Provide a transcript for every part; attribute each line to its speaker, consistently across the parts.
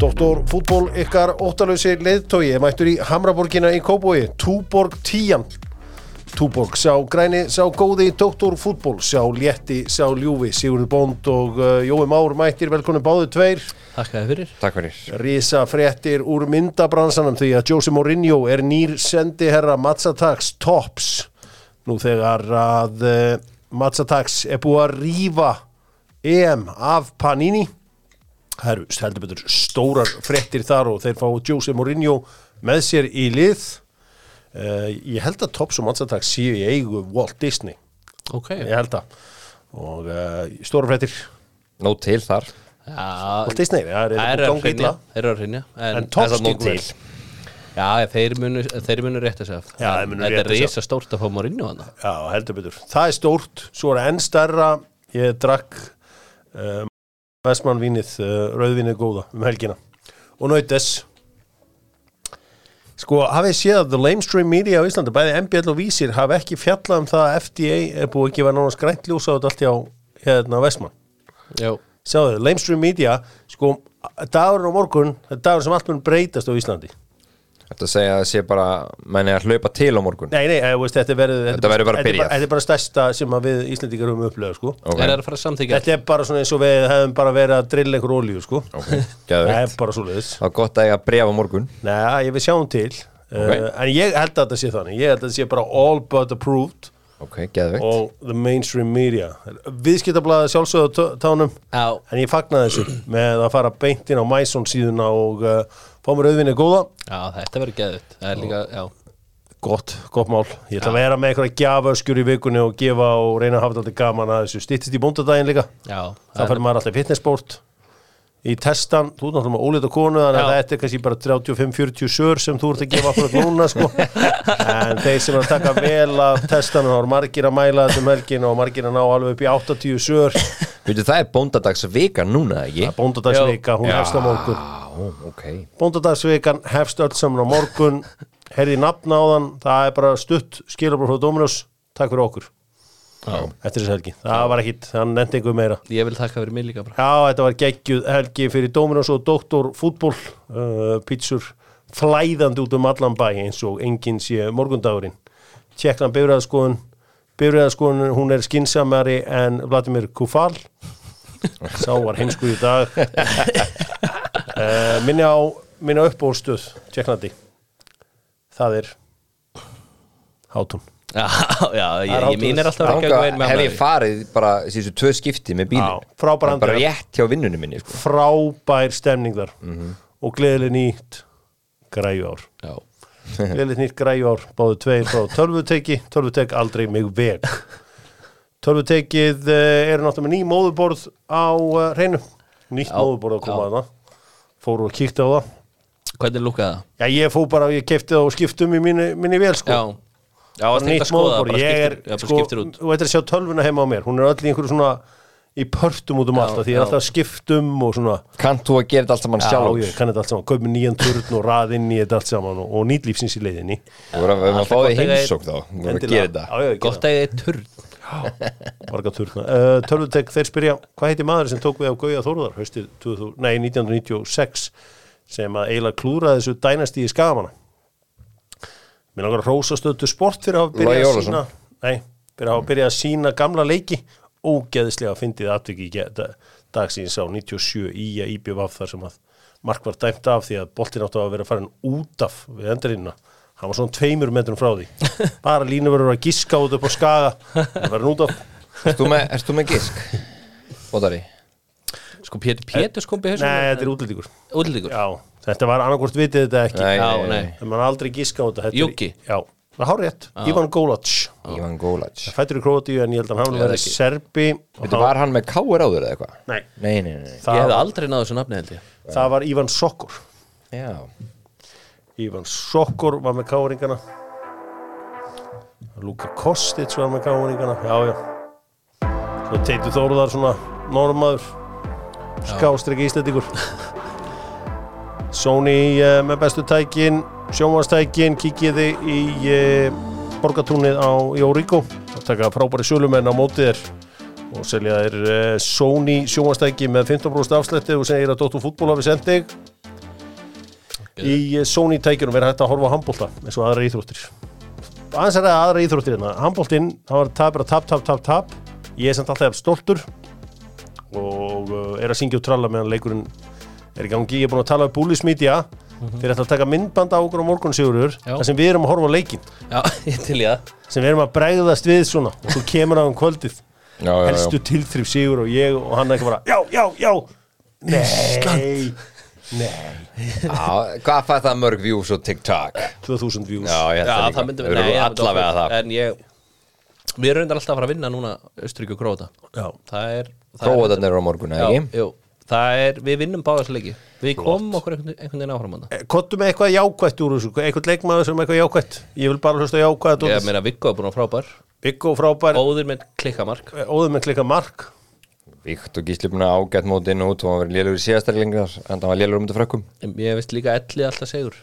Speaker 1: Doktor fútból ykkar óttalösi leiðtói er mættur í Hamraborgina í Kóbói, Túborg 10. Túborg sá græni, sá góði, Doktor fútból sá létti, sá ljúfi, Sigurður Bónd og uh, Jói Már mættir, velkonum báðu tveir.
Speaker 2: Takk að þið fyrir
Speaker 3: Takk fyrir
Speaker 1: Rísa fréttir úr myndabransanum því að Jose Mourinho er nýr sendiherra Matsatax Tops nú þegar að uh, Matsatax er búið að rífa EM af Panini það eru heldur betur stórar fréttir þar og þeir fá Jose Mourinho með sér í lið uh, ég held að Tops og Matsatax séu í eigu Walt Disney
Speaker 2: Ok,
Speaker 1: ég held að og uh, stóra fréttir
Speaker 3: Nó til þar
Speaker 2: já,
Speaker 1: Walt Disney, það er,
Speaker 2: það
Speaker 1: er
Speaker 2: eru að
Speaker 1: gangið
Speaker 2: hrynja
Speaker 1: illa
Speaker 2: Það eru að hrynja
Speaker 1: en
Speaker 2: En
Speaker 3: Það
Speaker 1: Tops
Speaker 3: er nó
Speaker 1: gengur
Speaker 3: til
Speaker 1: vel
Speaker 2: já, þeir munu, þeir munu rétt að segja
Speaker 1: Já, þeir munu
Speaker 2: Þetta
Speaker 1: rétt
Speaker 2: er
Speaker 1: að segja.
Speaker 2: reysa stórt að fá maður inn í hana
Speaker 1: Já, heldur betur. Það er stórt, svo er enn stærra, ég drakk um, vestmannvínið, uh, rauðvínið góða um helgina. Og nautes. Sko, hafið þið séð að The Lamestream Media á Íslandi, bæði MBL og Vísir, hafi ekki fjallað um það að FDA er búið að gefa nánast grænt ljós á þetta allt hjá hérna vestmann.
Speaker 2: Já,
Speaker 1: Sjáðu, Lamestream Media, sko, dagurinn á morgun, það er dagurinn sem allt mun breytast á Íslandi.
Speaker 3: Þetta segja að það sé bara Menni að hlaupa til á morgun
Speaker 1: Nei, nei, eh, veist, þetta verður
Speaker 3: Þetta verður bara
Speaker 1: þetta er
Speaker 3: byrjað.
Speaker 1: Þetta er bara stærsta sem að við Íslandingar höfum upplegað, sko.
Speaker 3: Ok,
Speaker 2: þeir eru að fara að samþykja
Speaker 1: Þetta er bara svona eins og við hefum bara verið að drilla einhver olíu sko
Speaker 3: ok,
Speaker 1: Það
Speaker 3: geðveikt.
Speaker 1: er bara svo leiðis
Speaker 3: Það er gott að eiga bref á morgun
Speaker 1: Nei, ég vil sjá hún til uh, En ég held að þetta sé þannig Ég held að þetta sé bara all but approved
Speaker 3: Ok, geðveikt
Speaker 1: og the mainstream media Viðskiptablaði sjálfsögðu á tö- tánum
Speaker 2: Já,
Speaker 1: En ég fagnaði þessu með að fara beint inn á Mæsson síðuna og uh, fá mér auðvinni góða
Speaker 2: já, þetta verður geðut Það er líka, já,
Speaker 1: Gott, gott mál Ég ætla að vera með einhverja gjaföskjur í vikunni og gefa og reyna að hafa þetta gaman að þessu Stýttist í bóndadaginn líka
Speaker 2: já
Speaker 1: þá
Speaker 2: það er-
Speaker 1: fyrir maður alltaf í fitnessport í testan, þú ert náttúrulega með ólita konu þannig að
Speaker 2: Já.
Speaker 1: þetta er kannski bara 35-40 sör sem þú ert að gefa akkurat núna sko. en þeir sem er að taka vel af testanum, þá er margir að mæla þetta um helgin og margir að ná alveg upp í 80 sör
Speaker 3: Veitu, það er bóndadagsvika núna, ekki?
Speaker 1: bóndadagsvika, hún hefst á morgun
Speaker 3: Já, ok
Speaker 1: bóndadagsvikan hefst öll saman á morgun herði nafn á þann, það er bara stutt skilabur frá Dominus, takk fyrir okkur
Speaker 2: Já.
Speaker 1: eftir þessu helgi, það var ekkit hann nefndi einhver meira
Speaker 2: Ég vil þakka fyrir mig líka bara
Speaker 1: Já, þetta var geggjuð helgi fyrir Dominos og Doktor fútból uh, pítsur flæðandi út um allan bæ eins og enginn sé morgundagurinn Tjekkland bifræðaskoðun bifræðaskoðun, hún er skinsamari en Vladimir Kufal sá var heimsku í dag uh, minni á minna uppbóðstuð Tjekklandi það er hátun
Speaker 2: Já, já, ég,
Speaker 1: er
Speaker 2: ég mín er alltaf ekki að
Speaker 3: Þanga
Speaker 2: vera með
Speaker 3: hef ég
Speaker 2: annarri.
Speaker 3: farið bara síðustu tvö skipti með bílum
Speaker 1: Já, frábær
Speaker 3: Bara
Speaker 1: andrá.
Speaker 3: rétt hjá vinnunum minni sko.
Speaker 1: frábær stemning þar og gleðileg nýtt græju ár
Speaker 2: Já,
Speaker 1: Lillit nýtt græjár, báðu tveir frá tölvuteki, tölvutek aldrei mig veg. Tölvutekið eh, eru náttúrulega með ný móðuborð á eh, hreinu, nýtt
Speaker 2: Já,
Speaker 1: móðuborð að koma
Speaker 2: já.
Speaker 1: að það, fóru og kíkti á það.
Speaker 2: hvernig lúkaði það?
Speaker 1: Já, ég fór bara, ég kefti það og skiptum í minni, minni vel sko.
Speaker 2: Já, já,
Speaker 1: Bara
Speaker 2: varstu eitthvað
Speaker 1: nýtt
Speaker 2: að skoða
Speaker 1: móðuborð,
Speaker 2: bara
Speaker 1: ég er,
Speaker 2: skiptir- já, bara
Speaker 1: sko,
Speaker 2: skiptir út
Speaker 1: og þetta er að sjá tölvuna heima á mér, hún er öll í einhverju svona, í pörtum út um
Speaker 2: Já,
Speaker 1: allt, af því ég er
Speaker 2: já.
Speaker 1: alltaf að skiptum og svona,
Speaker 3: Kannt þú að gera þetta allt saman
Speaker 1: já,
Speaker 3: sjálf
Speaker 1: ég kann þetta allt saman, kaupi nýjan turn og raðinn í þetta allt saman og, og nýtlífsins í leiðinni.
Speaker 3: Þú verður að- við erum að
Speaker 2: Alltaf
Speaker 3: fá
Speaker 2: gott
Speaker 3: því
Speaker 2: að eiga
Speaker 3: heimsók þá Þú verður að gera þetta
Speaker 1: Já, já, ég geri það.
Speaker 2: Gott að ég er turn
Speaker 1: marga turna. Uh, tölvutek, þeir spyrja, hvað heiti maður sem tók við af Gauja Þórðar haustið 2000, nei, 1996 sem að eiginlega klúraði þessu dænast í skafana. Mér langar að rósa stöðu sport fyrir að hafa
Speaker 3: Logi
Speaker 1: byrjað að
Speaker 3: Ólafsson.
Speaker 1: sína, nei, fyrir að hafa byrjað að sína gamla leiki, ógeðislega fyndið atviki í ge- da- dagsins á 97 í að IBVF þar sem að Mark var dæmt af því að boltinn áttu að vera farin út af við endarínuna. Hann var svona tveimur metrum frá því. Bara línu verður að giska út upp á skaga, það verður út af.
Speaker 3: Erst þú með- Erst þú með gisk? Ótari
Speaker 2: Sko Pétur Pétur skumpi
Speaker 1: Nei, þetta er útlendingur
Speaker 2: Útlíkur
Speaker 1: Já, þetta var annarkvort vitið þetta ekki
Speaker 3: Nei,
Speaker 2: Já,
Speaker 3: nei, nei.
Speaker 2: nei
Speaker 1: En maður aldrei gíska á þetta þetta er-
Speaker 2: Juki.
Speaker 1: Já, það hár rétt, Ivan Gólac
Speaker 3: Ivan Gólac
Speaker 1: Fættur í Króatíu en ég held að hann
Speaker 2: það
Speaker 1: verði
Speaker 2: ekki.
Speaker 1: serbi og
Speaker 3: Veitu, var hann með káir áður eða eitthvað?
Speaker 1: Nei.
Speaker 3: Nei, nei, nei
Speaker 2: Ég
Speaker 1: það,
Speaker 2: hef
Speaker 1: var,
Speaker 2: aldrei náðu þessu nafni held ég
Speaker 1: það var Ivan Sokkur
Speaker 3: Já
Speaker 1: Ivan Sokkur var með káringana Luka Kostic var með káringana Já, já Svo Teitur Þóruðar svona normaður skástrygg íslendingur Sony uh, með bestu tækin sjónvastækin, kíkiði í uh, borgatúnið á Jóríko að taka frábæri sölumenn á mótið þér og selja eh, þér uh, Sony sjónvastæki með 15% afslætti og segir að Dóttu fútból hafi sendið í eh, Sony tækjunum verið hægt að horfa á handbólta eins og aðra íþróttir aðeins er það aðra íþróttir hérna handbóltinn, það var tap, bara tap, tap, tap, tap ég er samt alltaf jafn stoltur og uh, er að syngja og tralla meðan leikurinn er í gangi ég er búin að tala um Bullis Media þeir ætla að taka myndband á okkur á morgun Sigurður
Speaker 2: Já.
Speaker 1: þar sem við erum að horfa á leikinn
Speaker 2: Já, ég til ég að
Speaker 1: sem við erum að bregðast við svona og svo kemur á um kvöldið
Speaker 3: já, já,
Speaker 1: helstu
Speaker 3: já.
Speaker 1: tilþrif Sigur og ég og hann ekki bara já, já, já, nei nei,
Speaker 3: Já, hvað fæði það mörg views og TikTok
Speaker 1: 2000 views
Speaker 3: já, ég held
Speaker 2: Já,
Speaker 3: líka.
Speaker 2: það myndum
Speaker 3: Við
Speaker 2: við
Speaker 3: erum
Speaker 2: nei, það myndum
Speaker 3: allavega
Speaker 2: við-
Speaker 3: það
Speaker 2: En ég Við erum reyndar alltaf að fara að vinna núna Östuríku og Króta
Speaker 1: Já.
Speaker 2: Það er það er-
Speaker 3: Króatarnir eru á morgun,
Speaker 2: Já,
Speaker 3: eða ekki?
Speaker 2: jú, það er, við vinnum báðast leiki Við komum okkur einhvern einhvern veginn áfram þarna.
Speaker 1: Kottu Eh, með eitthvað jákvætt úr þessu, eitthvað leikmaður sem er eitthvað jákvætt Ég vil bara hlusta á jákvæða
Speaker 2: Ég
Speaker 1: dótið
Speaker 2: meina Viggo er búin að frábær
Speaker 1: Bygg og frábær,
Speaker 2: Óður með klikkamark
Speaker 1: óður með klika mark
Speaker 3: Víkt og Gísli búin að ágætt móti inn og út og hann var lélur í síðastari lengar en það var lélur um þetta frökkum
Speaker 2: Ég veist líka elli alltaf segur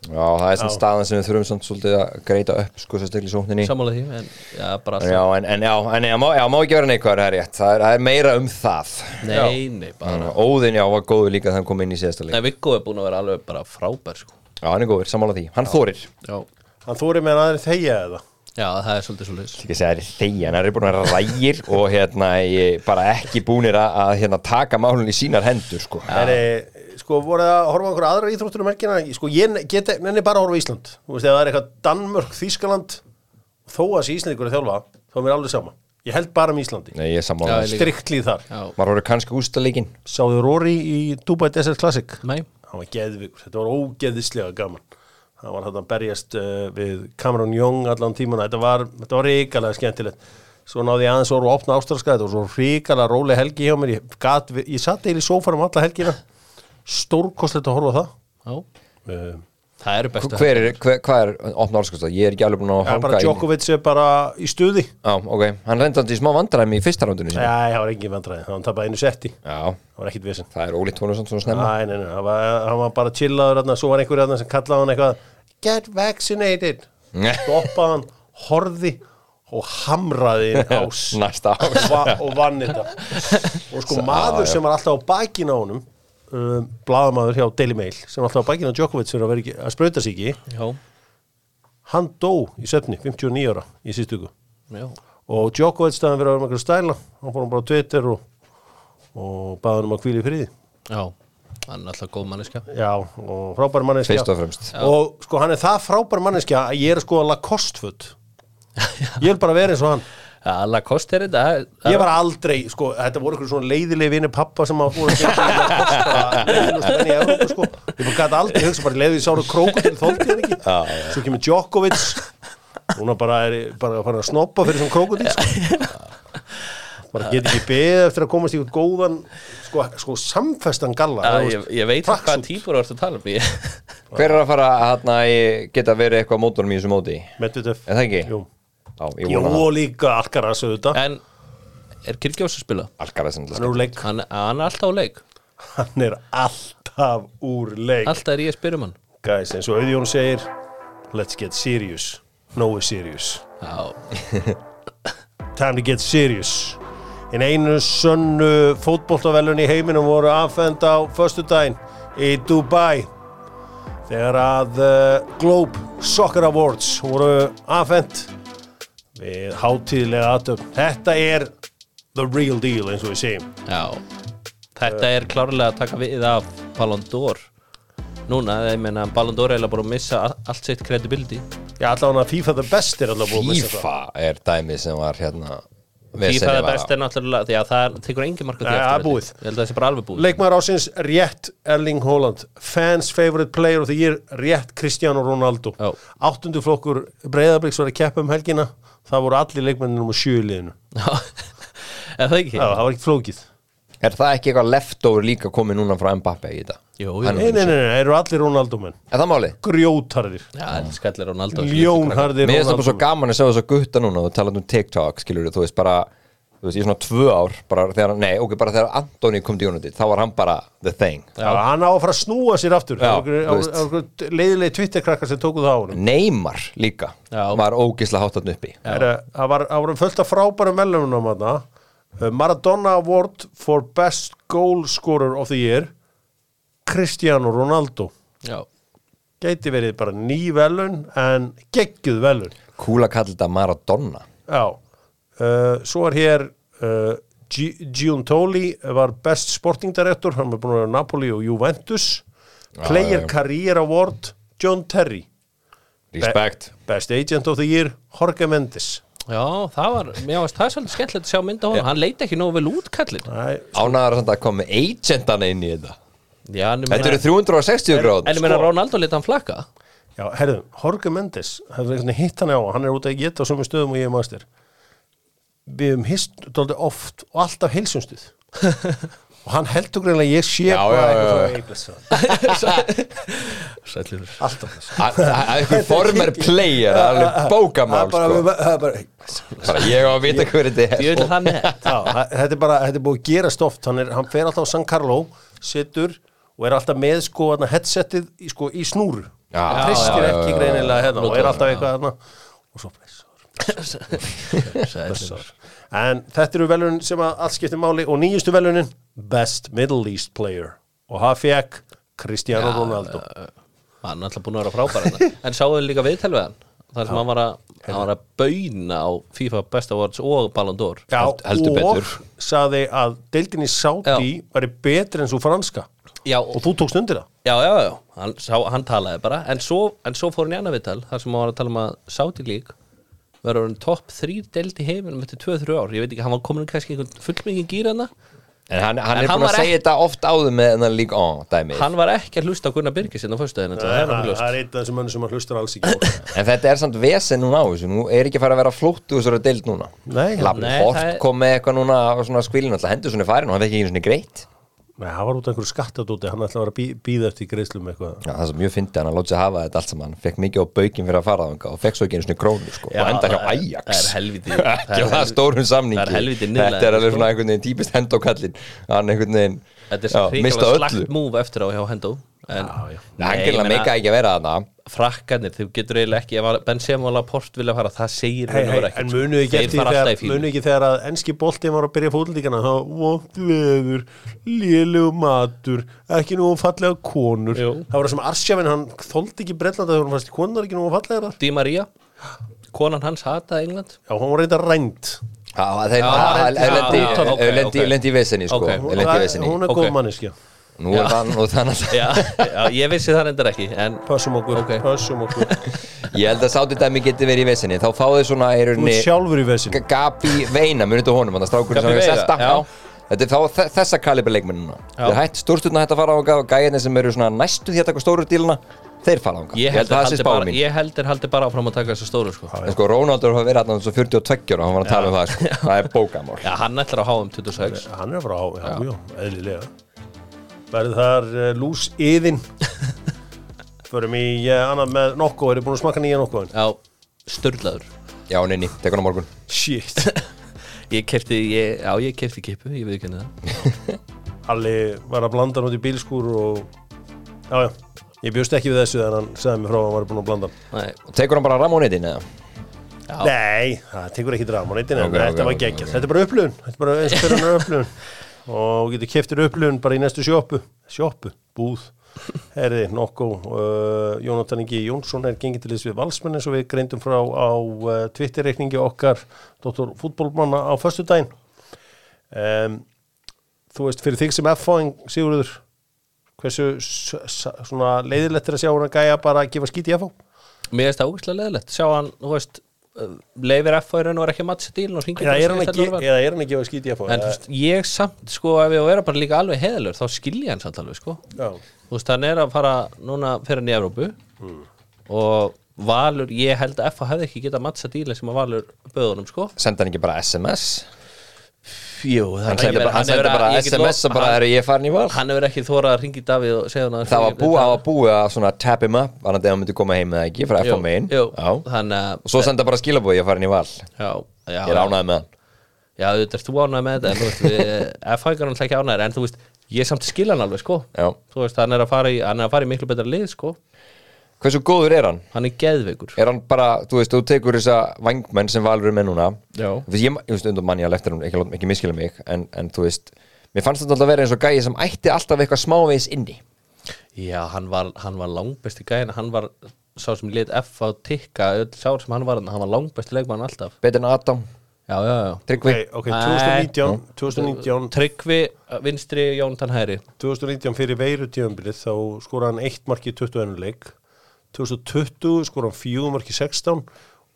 Speaker 3: Já, það er svona
Speaker 1: Já.
Speaker 3: staðan sem við þurfum samt svolítið að greita upp sko, sem stegli sókninni
Speaker 2: Sammála því en, já, bara
Speaker 3: Já,
Speaker 2: alltaf,
Speaker 3: en, en já, en já, má, já, má ekki vera neikvar, það er rétt Það er, það er meira um það
Speaker 2: Nei, nei, bara
Speaker 3: Þannig að Óðinn, já, var góður líka þegar hann kom inn í síðasta leik
Speaker 2: Nei, Viggo er búin að vera alveg bara frábær sko.
Speaker 3: Já, hann er góður, sammála því, hann þórir
Speaker 2: já.
Speaker 1: Hann þóri með aðri þegja eða
Speaker 2: já, það er svolítið svolítið
Speaker 3: Líka að segja það er þegja, hann er búin að vera rægir og hérna, ég, bara ekki búnir að, að hérna, taka málun í sínar hendur sko.
Speaker 1: Það er, sko, voru það að horfa á einhverja aðra íþróttur um helgina Sko, ég ne- get, nenni bara að horfa á Ísland Þú veist, ef það er eitthvað Danmörk, Þýskaland Þó að þessi Íslandingur að þjálfa, þá er mér alveg sama Ég held bara um Íslandi,
Speaker 3: Nei, ég er
Speaker 2: Já,
Speaker 3: sammála þessu.
Speaker 2: líka.
Speaker 1: striktlið þar
Speaker 2: Já,
Speaker 3: Maður voru kannski ústaleikin
Speaker 1: Sáðu Rory í Dubai Desert Classic
Speaker 2: nei,
Speaker 1: hann var geðvigur, þetta var ógeðislega gaman hann var þarna að berjast uh, við Cameron Young allan tíman þetta var, þetta var ríkalega skemmtilegt svo náði ég aðeins orðu að opna ástraska þetta var svo ríkalega róleg helgi hjá mér ég, gat, við- ég satt eil í sófanum alla helgina stórkostlegt að horfa á það
Speaker 2: já
Speaker 1: uh,
Speaker 2: Það eru bestu
Speaker 3: Hver er, hver, hvað er opna árskast Ég er ekki alveg búin að
Speaker 1: það er bara
Speaker 3: hanga í
Speaker 1: Djokovic er bara í stuði
Speaker 3: Já, ok, hann reyndandi í smá vandræmi í fyrsta
Speaker 1: Nei,
Speaker 3: rándinu sinni
Speaker 1: það var engin vandræði, hann tapaði einu setti
Speaker 3: Já,
Speaker 1: það var ekkit vesen
Speaker 3: það er ólíkt honum samt svona snemma
Speaker 1: Nei, nei, nei, hann var, hann var bara chillaður þarna, svo var einhver þarna sem kallaði hann eitthvað Get vaccinated
Speaker 3: Nei.
Speaker 1: Stoppaði hann, horði og hamraði inn ás
Speaker 3: Næsta ár
Speaker 1: og, va og vann þetta og sko maður sem var alltaf á bakinu á honum um, blaðamaður hjá Daily Mail sem var alltaf á bakinu á Djokovic sem var að, vera ekki, að sprauta sig ekki
Speaker 2: Já,
Speaker 1: hann dó í söfni, 59 ára í síðstöku
Speaker 2: já,
Speaker 1: og Djokovic staðan verið að vera með einhverju stæla hann fór hann bara á Twitter og, og baði hann um að hvíla í friði
Speaker 2: já Hann er alltaf góð manneska
Speaker 1: Já, og frábær manneskja
Speaker 3: Fyrst og fremst.
Speaker 2: Já.
Speaker 1: Og sko hann er það frábær manneskja að ég er sko að Lacoste föt Ég vil bara vera eins og hann
Speaker 2: Alla kost er þetta það-
Speaker 1: Ég var aldrei, sko, þetta voru einhver svona leiðilegi vinni pappa sem að fóra að geta í Lacoste bara leiðilegustu menn í Evrópu, sko Ég bara gæti aldrei hugsa bara leiði sáru króku til þóldi hann ekki Svo kemur Djokovic Núna bara er bara að fara að snoppa fyrir sem króku sko bara get ekki beðið eftir að komast í eitthvað góðan sko, sko samfestan galla
Speaker 2: Já,
Speaker 1: þú veist,
Speaker 2: ég, ég veit
Speaker 1: tracksuit.
Speaker 2: hvað típur þú ert að tala um ég,
Speaker 3: Hver er að fara að hérna, í- geta verið eitthvað á mótunum í þessu móti?
Speaker 1: Medvedev
Speaker 3: Er það ekki?
Speaker 1: Jú,
Speaker 3: Já, ég
Speaker 1: Jú
Speaker 3: vona það
Speaker 1: og líka Alcaraz auðvitað
Speaker 2: En er Kyrkjós að spila?
Speaker 3: Algar þess að
Speaker 1: Hann er úr leik
Speaker 2: Hann, hann er alltaf á leik
Speaker 1: Hann er alltaf úr leik
Speaker 2: Alltaf er ég að spyrja um hann
Speaker 1: Guys, eins og Auðjón segir Let's get serious No is serious
Speaker 2: Já,
Speaker 1: Time to get serious En einu sönnu fótboltavelun í heiminum voru afhend á föstudaginn í Dubai þegar að uh, Globe Soccer Awards voru afhend við hátíðlega aðtöfn Þetta er the real deal eins og við segjum
Speaker 2: já Þetta er klárlega að taka við af Ballon d'Or Núna, ég meina Ballon d'Or er eiginlega bara að missa a- allt sitt credibility
Speaker 1: Já, allavega FIFA the best er allavega búið að missa það.
Speaker 3: FIFA er dæmi sem var hérna vesenið
Speaker 2: FIFA er
Speaker 3: var á.
Speaker 2: best er náttúrulega því að það tekur engin marka
Speaker 1: Já,
Speaker 2: því
Speaker 1: það er
Speaker 2: eftir
Speaker 1: búið.
Speaker 2: Ég held að það sé bara alveg búið
Speaker 1: Leikmaður ásins rétt Erling Haaland Fans favorite player of the year rétt Cristiano Ronaldo
Speaker 2: Já.
Speaker 1: Áttundu flokkur Breiðabriks var að keppa um helgina Það voru allir leikmennir um sjö í liðinu
Speaker 2: Já, er það ekki?
Speaker 1: Já, það var ekki flókið
Speaker 3: Er það ekki eitthvað leftover líka komið núna frá Mbappe í þetta?
Speaker 2: Jú, jú.
Speaker 3: Hann
Speaker 1: Nei,
Speaker 3: er-
Speaker 1: nei, nei, nei, eru allir Ronaldo menn
Speaker 3: Er það málið?
Speaker 1: Grjótarðir,
Speaker 2: Já, þetta skallir Ronaldo
Speaker 1: ljónharðir
Speaker 3: Mér finnst
Speaker 1: Ronaldo
Speaker 3: það bara svo gaman að segja þess að gutta núna og tala um TikTok, skilur þú veist bara þú veist, ég svona tvö ár bara þegar, nei, ok, bara þegar Antoni kom til United þá var hann bara the thing
Speaker 1: Já, hann á að fara að snúa sér aftur
Speaker 3: Já, þú veist.
Speaker 1: Leðilegi Twitter-krakkar sem tóku það á honum
Speaker 3: Neymar líka
Speaker 2: Já.
Speaker 3: var ógislega hátatn uppi
Speaker 1: Herra, Það var, það var fullt af frábærum velunum þarna. Uh, Maradona Award for Best Goal Scorer of the Year Cristiano Ronaldo
Speaker 2: Já,
Speaker 1: gæti verið bara ný velun en geggjuð velun
Speaker 3: Kúla kallir þetta Maradona
Speaker 1: Já, uh, svo er hér uh, Gi- Giuntoli var best sportingdirektor, hann er búin að vera Napoli og Juventus Player
Speaker 3: já, já.
Speaker 1: Career Award, John Terry
Speaker 3: Respect
Speaker 1: Best Agent of the Year, Jorge Mendes
Speaker 2: já það var, mér varst það svolítið skemmtilegt að sjá mynda honum, hann leit ekki nógu vel út kallinn
Speaker 1: Æ,
Speaker 3: Ánæður samt að koma með agentana inn í þetta
Speaker 2: Já, en ég
Speaker 3: Þetta
Speaker 2: meina,
Speaker 3: eru sko. 360
Speaker 2: en
Speaker 3: gráð
Speaker 2: ég meina Ronaldo lit hann flakka
Speaker 1: Já, herðu, Jorge Mendes hefur einhvern veginn hitt hann á, hann er út að geta á sömu stöðum og ég er master Við höfum hist dálítið oft og alltaf heilsumstuð og hann heldur greinlega að ég sé
Speaker 3: Já, já, já, já.
Speaker 1: eitthvað eitthvað eitthvað
Speaker 2: Sællur
Speaker 1: alltaf þess
Speaker 3: Einhver former player, það er alveg bókamál
Speaker 1: Það er bara-
Speaker 3: sko.
Speaker 1: það er bara
Speaker 3: Bara ég á að vita hver þetta
Speaker 2: Ég
Speaker 3: er
Speaker 2: vil það með
Speaker 1: Já, þa- þetta er bara, þetta er búið að gera stoft hann, er, hann fer alltaf á San Carlo, situr og er alltaf með sko þarna, headsetið í, sko, í snúru
Speaker 3: Já,
Speaker 1: hann
Speaker 3: já,
Speaker 1: tristir
Speaker 3: já, já,
Speaker 1: ekki
Speaker 3: já,
Speaker 1: greinilega hérna og
Speaker 2: Notar
Speaker 1: er
Speaker 2: það,
Speaker 1: alltaf eitthvað hérna og svo blessar,
Speaker 2: Sællur
Speaker 1: blessar en þetta eru velunin sem að allt skiptir máli og nýjustu velunin, Best Middle East Player og hann fekk Cristiano Ronaldo
Speaker 2: Hann er alltaf búin að vera frábær hérna. En sáðu þið líka viðtel við hann Það sem hann var, að,
Speaker 3: Hérna.
Speaker 2: hann var að bauna á FIFA Best Awards og Ballon d'Or
Speaker 1: Já,
Speaker 3: held-
Speaker 1: og
Speaker 3: heldur betur.
Speaker 1: saði að deildin í Saudi væri betri en svo franska
Speaker 2: Já,
Speaker 1: og þú tókst undir það
Speaker 2: já, já, já. Hann, sá, hann talaði bara en svo, en svo fór hann í annað viðtal þar sem hann var að tala um að Saudi League verður hann topp þrý delt í heiminum eftir 2-3 ár, ég veit ekki, hann var komin kannski einhvern hérna. fullmengin gýr hann
Speaker 3: En hann, hann
Speaker 2: En
Speaker 3: er
Speaker 2: hann
Speaker 3: búin
Speaker 2: var
Speaker 3: að segja þetta oft áður með þennan lík on dæmi
Speaker 2: hann var ekki að hlusta á Gunnar Birgis hérna á föstudaginn, þetta
Speaker 1: Það
Speaker 2: er
Speaker 1: er,
Speaker 2: alveg ljóst.
Speaker 1: það er eitt af þessum mönnum sem að hlustar alls ekki á.
Speaker 3: En þetta er samt vesen núna á þessu Nú er ekki farið að vera flóttu þessari deild núna
Speaker 1: Nei.
Speaker 2: Nei,
Speaker 3: Lapport
Speaker 2: það er- kom
Speaker 3: kom með eitthvað núna og svona skvilin alltaf hendur svona farin og hann vekki ekki einu svona greitt
Speaker 1: Nei, það var út af einhverju skattadóti, hann ætlaði að vera að bí- bíða eftir greiðslum eitthvað.
Speaker 3: Já, það sem mjög fyndi hann að láta sig hafa þetta allt saman fekk mikið á baukinn fyrir að fara á og fekk svo ekki einu svona krónu sko
Speaker 2: Já,
Speaker 3: og enda hjá
Speaker 2: það er-
Speaker 3: Ajax
Speaker 2: það er helviti- það er
Speaker 3: Ekki á það
Speaker 2: helviti-
Speaker 3: stórum samningi
Speaker 2: það er helviti niðurlæðing,
Speaker 3: Þetta er alveg
Speaker 2: sko.
Speaker 3: svona einhvern veginn típist hend á kallinn Hann einhvern veginn
Speaker 2: þetta er svo
Speaker 3: já, mista
Speaker 2: hrikalega
Speaker 3: öllu
Speaker 2: slagt múf eftir á hjá Hendo en, já, já.
Speaker 3: Nei, Hann gerði að meika ekki að vera þarna
Speaker 2: frakkanir, þau getur eiginlega ekki ef Benzema og Laporte vilja fara, það segir
Speaker 1: Hei,
Speaker 2: raun
Speaker 1: hei,
Speaker 2: og veru ekkert,
Speaker 1: en
Speaker 2: sko.
Speaker 1: munuðu ekki,
Speaker 2: Þeir
Speaker 1: eftir
Speaker 2: fara
Speaker 1: þegar,
Speaker 2: alltaf í fílu.
Speaker 1: munu ekki þegar að ennski boltið var að byrja fótlíkana, þá vond veður, lélegu matur, ekki nú fallega konur.
Speaker 2: Jú.
Speaker 1: Það var það sem Arsjafinn, hann þóldi ekki brellanda þegar hann fannst konunar ekki nú fallega þar.
Speaker 2: Di Maria konan hans hataði England
Speaker 1: Já, hann var reynda rænt.
Speaker 3: Já, þeir
Speaker 2: Já,
Speaker 3: ha-
Speaker 2: hann er-
Speaker 3: lendi-
Speaker 2: já, ok,
Speaker 3: eh, lendi-
Speaker 2: ok.
Speaker 3: lendi í vesinni sko
Speaker 2: Ok.
Speaker 3: Þeir lendi í
Speaker 1: Það-
Speaker 3: vesinni
Speaker 1: Hún er
Speaker 2: Ok.
Speaker 1: góð manneskja.
Speaker 3: Nú er það nú er það náttúrulega
Speaker 2: já, já, ég vissi það reyndar ekki en
Speaker 1: Passum okkur,
Speaker 2: Ok.
Speaker 1: passum okkur.
Speaker 3: Ég held að sátti dæmi geti verið í vesinni Þá fá þau svona í
Speaker 1: Þú
Speaker 3: rauninni
Speaker 1: er sjálfur í vesin.
Speaker 3: G- Gabi Veina, munið þú honum, þannig að strákurinn sem
Speaker 2: Gabi
Speaker 3: hefur
Speaker 2: Veina,
Speaker 3: selta
Speaker 2: já.
Speaker 3: Þetta er þá þe- þessa kalibri leikmennina Þeir hætt stórstutna hætt að fara ánga og gæðinni sem eru svona næstu því að taka stóru díluna Þeir fara ánga,
Speaker 2: ég held
Speaker 3: að
Speaker 2: er
Speaker 3: það sé
Speaker 2: haldið
Speaker 3: spáin
Speaker 2: bara,
Speaker 3: mín
Speaker 2: ég held er haldið bara áfram að taka þessu stóru sko.
Speaker 3: En sko Rónaldur hafa verið hann svo 42 ára, hann var að tala um það sko. Það er bókamál
Speaker 2: já, hann ætlar að háa um 26
Speaker 1: Hann er frá, já, já, eðlilega Verður þar uh, lús yðin Förum í uh, annað með nokko, eru búin að smaka nýja nokkoðin?
Speaker 2: já, störlaður
Speaker 3: Já, neini, tek hann á morgun
Speaker 1: Shit
Speaker 2: ég kefti, ég, já, ég kefti kipu ég veit ekki henni það
Speaker 1: Alli var að blanda hann út í bílskúr og Já, já, ég bjóst ekki við þessu þegar hann sagði mér frá að hann var búin að blanda hann
Speaker 2: Nei,
Speaker 3: Og tekur hann bara Ramónitin eða?
Speaker 2: Já.
Speaker 1: Nei, það tekur ekki dramaneitin en
Speaker 3: Ok, ok,
Speaker 1: þetta var
Speaker 3: ok,
Speaker 1: geggjast
Speaker 3: ok.
Speaker 1: Þetta er bara upplöfun, þetta er bara eins og fyrir hann er upplöfun og getur keftir upplöfun bara í næstu sjoppu sjoppu, búð Herði, nokko, uh, Jónatan Ingi Jónsson er gengið til þess við valsmenn eins og við greindum frá á uh, Twitter-reikningi okkar Dr. Fútbolmanna á föstudaginn um, Þú veist, fyrir þig sem F-fáing Sigurður hversu s- s- svona leiðilegt er að sjá hann að gæja bara að gefa skít í F-fá?
Speaker 2: mér finnst það ógæslega leðilegt sjá hann, þú veist uh, leifir F-færin og er ekki að matsa dílun og hringir
Speaker 1: Eða
Speaker 2: bara
Speaker 1: er hann
Speaker 2: og
Speaker 1: að
Speaker 2: segist
Speaker 1: ge-
Speaker 2: að
Speaker 1: eða er hann að gefa skít í F-fá?
Speaker 2: En þú veist, ég samt, sko, ef ég á að vera bara líka alveg heðalur, þá skilja ég hann samt alveg, sko.
Speaker 1: Já
Speaker 2: Þú veist, hann er að fara, núna fyrir hann í Evrópu
Speaker 3: Mm.
Speaker 2: og Valur, ég held að FH hefði ekki getað mattsa díla sem að Valur böðunum, sko.
Speaker 3: Sendi hann ekki bara SMS?
Speaker 2: Jú,
Speaker 3: Hann sendi bara, hann sendi bara SMS og bara, er ég farin í val?
Speaker 2: Hann hefur ekki þórað að ringi Davíð og segja hann að...
Speaker 3: Það var búið, það var búið að svona tap him up annað þegar hann myndi koma heim eða ekki frá
Speaker 2: Jú,
Speaker 3: FM einn
Speaker 2: jú,
Speaker 3: og
Speaker 2: þannig að...
Speaker 3: svo senda bara skilabóð ég að fara inn í val ég
Speaker 2: Já, já.
Speaker 3: er ánægð með hann
Speaker 2: Já, þetta er þú ánægð með þetta, en þú veist, við, FH er náttúrulega ekki ánægð, en þú veist, ég samt skilja hann alveg, sko.
Speaker 3: Já.
Speaker 2: Þú veist, hann er að fara í, hann er að fara í miklu betra lið, sko.
Speaker 3: hversu góður er hann?
Speaker 2: Hann er geðveikur.
Speaker 3: er hann bara, þú veist, þú tekur þessa vangmenn sem valur er með núna
Speaker 2: Já.
Speaker 3: Þú veist, ég, ég veist, undan manni að leftir hún, ekki, láta- ekki miskila mig en, en þú veist, mér fannst þetta alltaf að vera eins og gæi sem ætti alltaf eitthvað smávegis inni
Speaker 2: Já, hann var, hann var langbesti gæðin Hann var sá sem lét F á tikka öll sár sem hann var, hann var langbesti leikmann alltaf
Speaker 3: betur en Adam,
Speaker 2: Já, já, já
Speaker 3: Tryggvi
Speaker 1: Ok, ok,
Speaker 2: Nei.
Speaker 1: 2019, 2019,
Speaker 2: Tryggvi uh, vinstri, Jónatan hæri
Speaker 1: 2019 fyrir veiru tíðanbilið þá skora hann 1 marki í 21 leik 2020 skora hann 4 marki í 16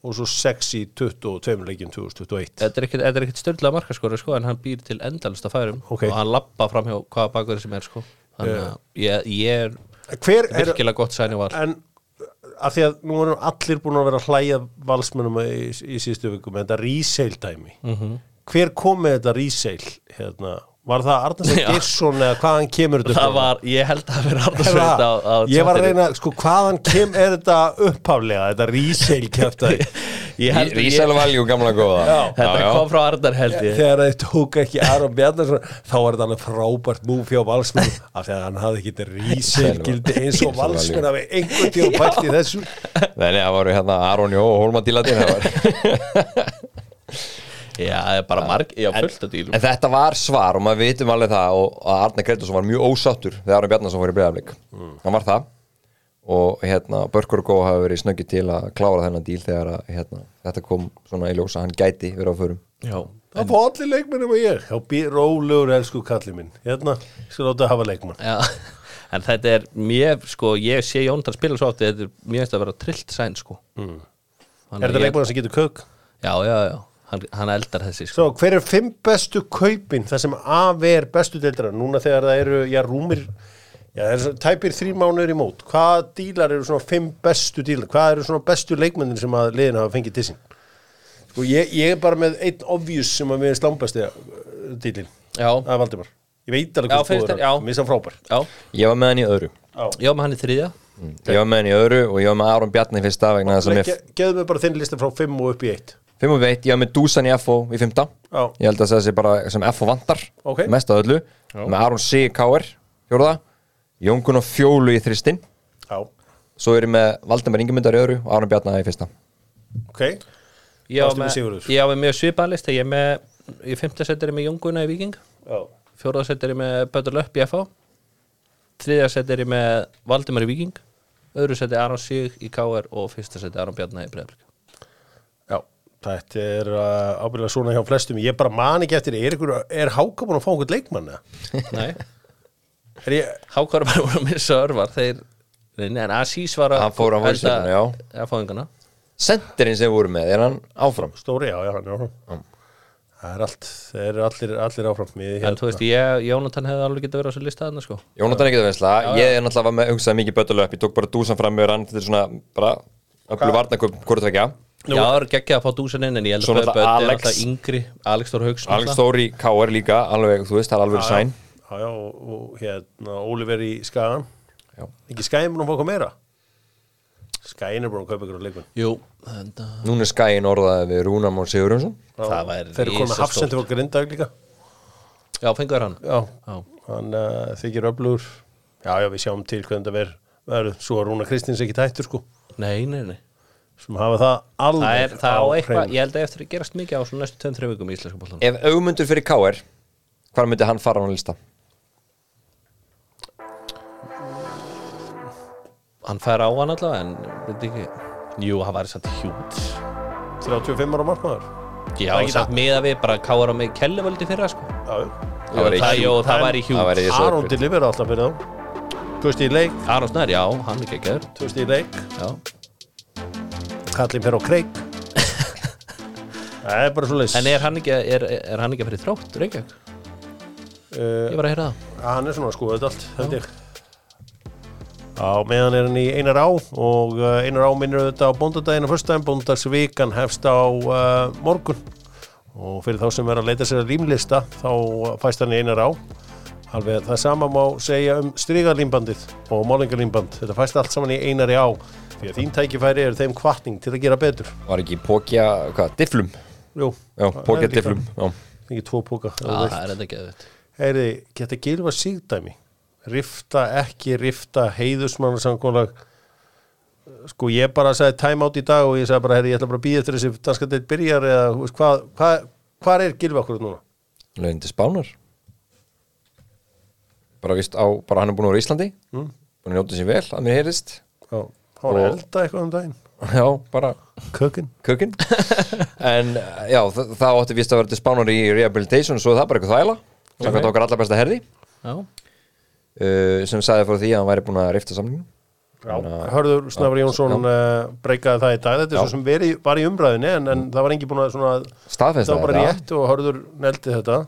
Speaker 1: og svo 6 í 22 leikin 2021
Speaker 2: Þetta er ekkit, þetta er ekkit störðlega markaskori sko, en hann býr til endalista færum
Speaker 1: Ok.
Speaker 2: og hann lappa framhjá hvaða bakur sem er sko. Þannig að ég, ég er
Speaker 1: Hver er,
Speaker 2: virkilega gott sæni var
Speaker 1: en af því að nú erum allir búin að vera að hlæja valsmönum í, í síðustu vikum en þetta resale dæmi
Speaker 2: Mhm.
Speaker 1: hver kom með þetta resale hérna? var það Arnarsson
Speaker 2: Já.
Speaker 1: Geirsson eða hvaðan kemur þetta
Speaker 2: Það
Speaker 1: frá?
Speaker 2: var, ég held að vera
Speaker 1: Er
Speaker 2: Arnarsson
Speaker 1: það?
Speaker 2: á, á
Speaker 1: ég var að
Speaker 2: Twitteri.
Speaker 1: reyna, sko hvaðan kem er þetta upphaflega, þetta resale kæftæði
Speaker 2: Ég held að ég,
Speaker 3: Rísal Valjú, gamla góða
Speaker 1: Já.
Speaker 2: Þetta kom frá Arnar held ég
Speaker 1: þegar þeir tók ekki Aron Bjarnarsson þá var þetta alveg frábært múf hjá Valsmenn af því að hann hafði ekki rísilgildi eins og Valsmenn hafi einhvern tíu pælt í þessu
Speaker 3: Nei, nei, það voru hérna Aron Jó og Holma Díladín það var-
Speaker 2: Já, það er bara marg, já, fullt að dýlum
Speaker 3: En þetta var svar og maður vitum alveg það og að Arne Gretarsson var mjög ósáttur þegar Arne Bjarnarsson var í breyðaflik hann var það og hérna Börkur og Gó hafa verið snöggið til að klára þennan díl þegar að, hérna, þetta kom svona í ljósa hann gæti verið á förum
Speaker 2: Já,
Speaker 1: Það fór allir leikmennum og ég Já, bí, rólegur elsku kallið minn Hérna, skal láta að hafa leikmann
Speaker 2: já En þetta er mjög, sko, ég sé Jónatan spila svo átti Þetta er mjög eftir að vera trillt sæn, sko mm.
Speaker 1: Er þetta leikmann sem getur kökk?
Speaker 2: Já, já, já, hann, hann eldar þessi, sko
Speaker 1: Svo, hver er fimm bestu kaupin Það sem AV er bestu deildra Núna þegar það eru, já, rúmir Já, það er svo, tæpir þrý mánuður í mót Hvaða dílar eru svona fimm bestu dílar? Hvað eru svona bestu leikmennir sem að liðin hafa fengið til sín? Sko, ég, ég er bara með einn obvious sem að við er slámbæsti dílin
Speaker 2: Já,
Speaker 1: Að Valdimar Ég veit alveg
Speaker 2: Já,
Speaker 1: hvað
Speaker 2: finnst þér- já.
Speaker 1: Mér sem frábær
Speaker 2: já,
Speaker 3: ég var með hann í öðru
Speaker 2: já, með hann í þriðja
Speaker 3: ég var með hann í öðru og ég var með Aron Bjarni í fyrsta vegna þess að mér
Speaker 1: Ge- Gefðu mig bara þinn lista frá fimm og upp í eitt
Speaker 3: fimm og veit, ég var með Dúsan í FO í fymta
Speaker 1: Já.
Speaker 3: ég held að það sé bara sem FO vantar
Speaker 1: Ok.
Speaker 3: mest að öllu, með Aron C. K.R. fjórða, Jón Gunnar Fjólu í þristinn
Speaker 1: Já,
Speaker 3: Svo er ég með Valdemar Ingemyndar í öðru og Aron Bjarnar í fyrsta
Speaker 1: ok
Speaker 2: Ég á
Speaker 1: Ástin
Speaker 2: með-
Speaker 1: Sigurður.
Speaker 2: ég á með mjög svipaðan lista Ég er með, í fimmta set er ég með Jónguna í Viking
Speaker 1: Já,
Speaker 2: Fjóraða set er ég með Böttur Löpp í FH Þriðja set er ég með Valdimar í Viking Öðru seti Aron Sig í KR og fyrsta seti Aron Bjarnar í Breiðablík
Speaker 1: já Þetta er uh, ábyrðilega svona hjá flestum Ég bara man ekki eftir, er, ykkur, er Háka búin að fá einhvern leikmann? eða?
Speaker 2: Nei,
Speaker 1: Er ég,
Speaker 2: Hákvar bara voru að missa örvar Þeir, nei, nei, en Asís var að
Speaker 3: Hann fór á hausverkina, já.
Speaker 2: Að fóðingana
Speaker 3: Senterinn sem við vorum með, er hann áfram?
Speaker 1: stóri, já, já, hann er áfram Það er allt, þeir eru allir, allir áfram Mér,
Speaker 2: En þú veist, ég, Jónatan hefði alveg getað verið á þessu lista þarna sko
Speaker 3: Jónatan ekki það veinsla, ég er náttúrulega var með hugsaði mikið bötulöp, ég tók bara dúsan fram með hann, þetta er svona bara öllu varnaköp hvort tvekja,
Speaker 2: Já, það er geggjað að fá dúsan inn en ég held
Speaker 3: Svo
Speaker 2: að Bödd er
Speaker 3: náttúrulega Alex.
Speaker 2: alltaf yngri Alex Þór Hauks
Speaker 3: Alex Þóri K.R. líka alveg, þú veist, það er alveg sæn
Speaker 1: Já, já, og, og hérna, Oliver í Skagan
Speaker 3: Já.
Speaker 1: Ekki Skagin búin að fá eitthvað meira? Skagin er búin að kaupa ykkur leikmann
Speaker 2: Jú, þetta
Speaker 3: Núna er skæin orðaði við Rúnar Már Sigurjónsson
Speaker 1: Já,
Speaker 2: Það væri
Speaker 1: Þeir eru komin að
Speaker 2: risastórt.
Speaker 1: hafsendi og grindaug líka
Speaker 2: Já, fengur hann
Speaker 1: Já,
Speaker 2: Já.
Speaker 1: hann uh, þykir öflugur Já, já, við sjáum til hvernig það verður- verður Svo er Rúna Kristins ekki tættur sko
Speaker 2: Nei, nei, nei
Speaker 1: sem hafa það alveg
Speaker 2: Það er það á eitthvað,
Speaker 1: hreinu.
Speaker 2: ég held að eftir að gerast mikið á svona næstu 2-3 vikum í íslenska bóltan
Speaker 3: Ef augmundur fyrir K.R. hvað myndi hann fara á hann lista?
Speaker 2: Hann fær á hann allavega en, veit ekki Jú, hann væri samt hjút
Speaker 1: 35 ára markmaður
Speaker 2: Já,
Speaker 1: Það er ekki
Speaker 2: samt miða við bara káar á mig kellevöldi fyrra sko
Speaker 1: Já,
Speaker 3: Það væri
Speaker 2: það,
Speaker 3: hjút.
Speaker 2: jú, það
Speaker 1: En-
Speaker 2: væri
Speaker 3: Það
Speaker 2: hjút
Speaker 3: væri- Ég svo
Speaker 1: Aron
Speaker 3: fyrir.
Speaker 1: deliver alltaf fyrir þá Tvöst í leik,
Speaker 2: Aron Snær, já, hann er geggjör
Speaker 1: tvöst í leik
Speaker 2: Já,
Speaker 1: Kallin fyrir á kreik Það er bara svo leis
Speaker 2: En er hann ekki, er, er hann ekki fyrir þrótt, Reykjavík?
Speaker 1: Eh,
Speaker 2: Ég var að heyra það
Speaker 1: Hann er svona að skoða þetta allt, held ég Á meðan er hann í Einar Á og uh, Einar Á minnir auðvitað á bóndardaginn á föstudaginn, bóndardagsvikan hefst á uh, morgun og fyrir þá sem er að leita sér að rýmlista þá uh, fæst hann í Einar Á alveg það sama má segja um strygalímbandið og málingalímband þetta fæst allt saman í Einari Á því að þín tækifæri er þeim kvartning til að gera betur
Speaker 3: Var ekki pókja, hvað, difflum?
Speaker 1: Jú, það
Speaker 3: Já,
Speaker 1: er
Speaker 3: pókja
Speaker 1: líka-
Speaker 3: difflum, já
Speaker 1: Ekki tvo póka
Speaker 2: Já, það er þetta geðvitt
Speaker 1: Heyri, geta gilfa síðdæmi rifta, ekki rifta heiðusmannarsamkólag sko ég bara sagði time out í dag og ég sagði bara, heyri, ég ætla bara að býja eftir þessi danska deitt byrjar eða þú veist, hvað hva, hva er gilfa okkur núna?
Speaker 3: Laun til Spánar Bara víst á, bara hann er búin að vera í Íslandi búin að njóta sér vel að mér heyrist
Speaker 1: Já, hann var að
Speaker 3: Og-
Speaker 1: elda eitthvað um daginn
Speaker 3: já, bara
Speaker 1: Kökin
Speaker 3: kökin en eh, já, þa það átti vist að vera til spánar í rehabilitation svo er það bara eitthvað þvæla þannig að okkar allar besta herði
Speaker 2: já,
Speaker 3: uh, sem sagði frá því að hann væri búin að rifta samlingum
Speaker 1: Hörður Snafri Jónsson uh, breykaði það í dag Þetta er svo sem veri, var í umræðinni en, en það var engi búin að svona
Speaker 3: Mm. Staðfesta
Speaker 1: Það var bara
Speaker 3: þetta.
Speaker 1: rétt og Hörður neldi þetta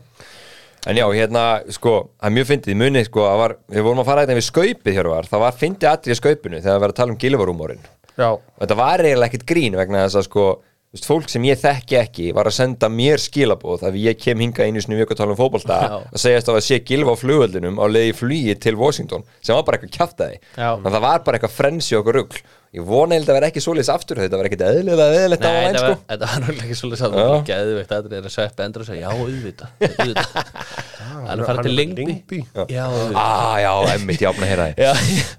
Speaker 3: en já, hérna, sko, það er mjög fyndið í muni, sko, að var, við vorum að fara þetta við skaupið hér var, það var fyndið allir í skaupinu þegar við varum að tala um gilvarúmórin
Speaker 1: Já,
Speaker 3: og þetta var eiginlega ekkert grín vegna þess að sko þú veist, fólk sem ég þekki ekki var að senda mér skilabóð að ég kem hinga einu sinni í viku að tala um fótbolta
Speaker 2: Já.
Speaker 3: að segjast á að sé gilfa á flugöldinum á leiði flugi til Washington sem var bara eitthvað kjaftaði
Speaker 2: Já.
Speaker 3: þannig að það var bara eitthvað frensi okkur rugl ég vona eiginlega að vera ekki svoleiðis aftur þetta var ekkert eðlilega eðlilegt á
Speaker 2: Nei,
Speaker 3: aðeins
Speaker 2: þetta
Speaker 3: sko
Speaker 2: var, þetta var náttúrulega ekki svolítið að
Speaker 3: Já.
Speaker 2: það var geðveikt að þetta er að sveppa endur og segja, já, auðvita, auðvita. hann er
Speaker 1: hann
Speaker 2: farið til
Speaker 1: er
Speaker 2: Lingby.
Speaker 1: Lyngby.
Speaker 2: Já, auðvita.
Speaker 3: ah, já, emmitt, ég opna að heyra
Speaker 2: Já.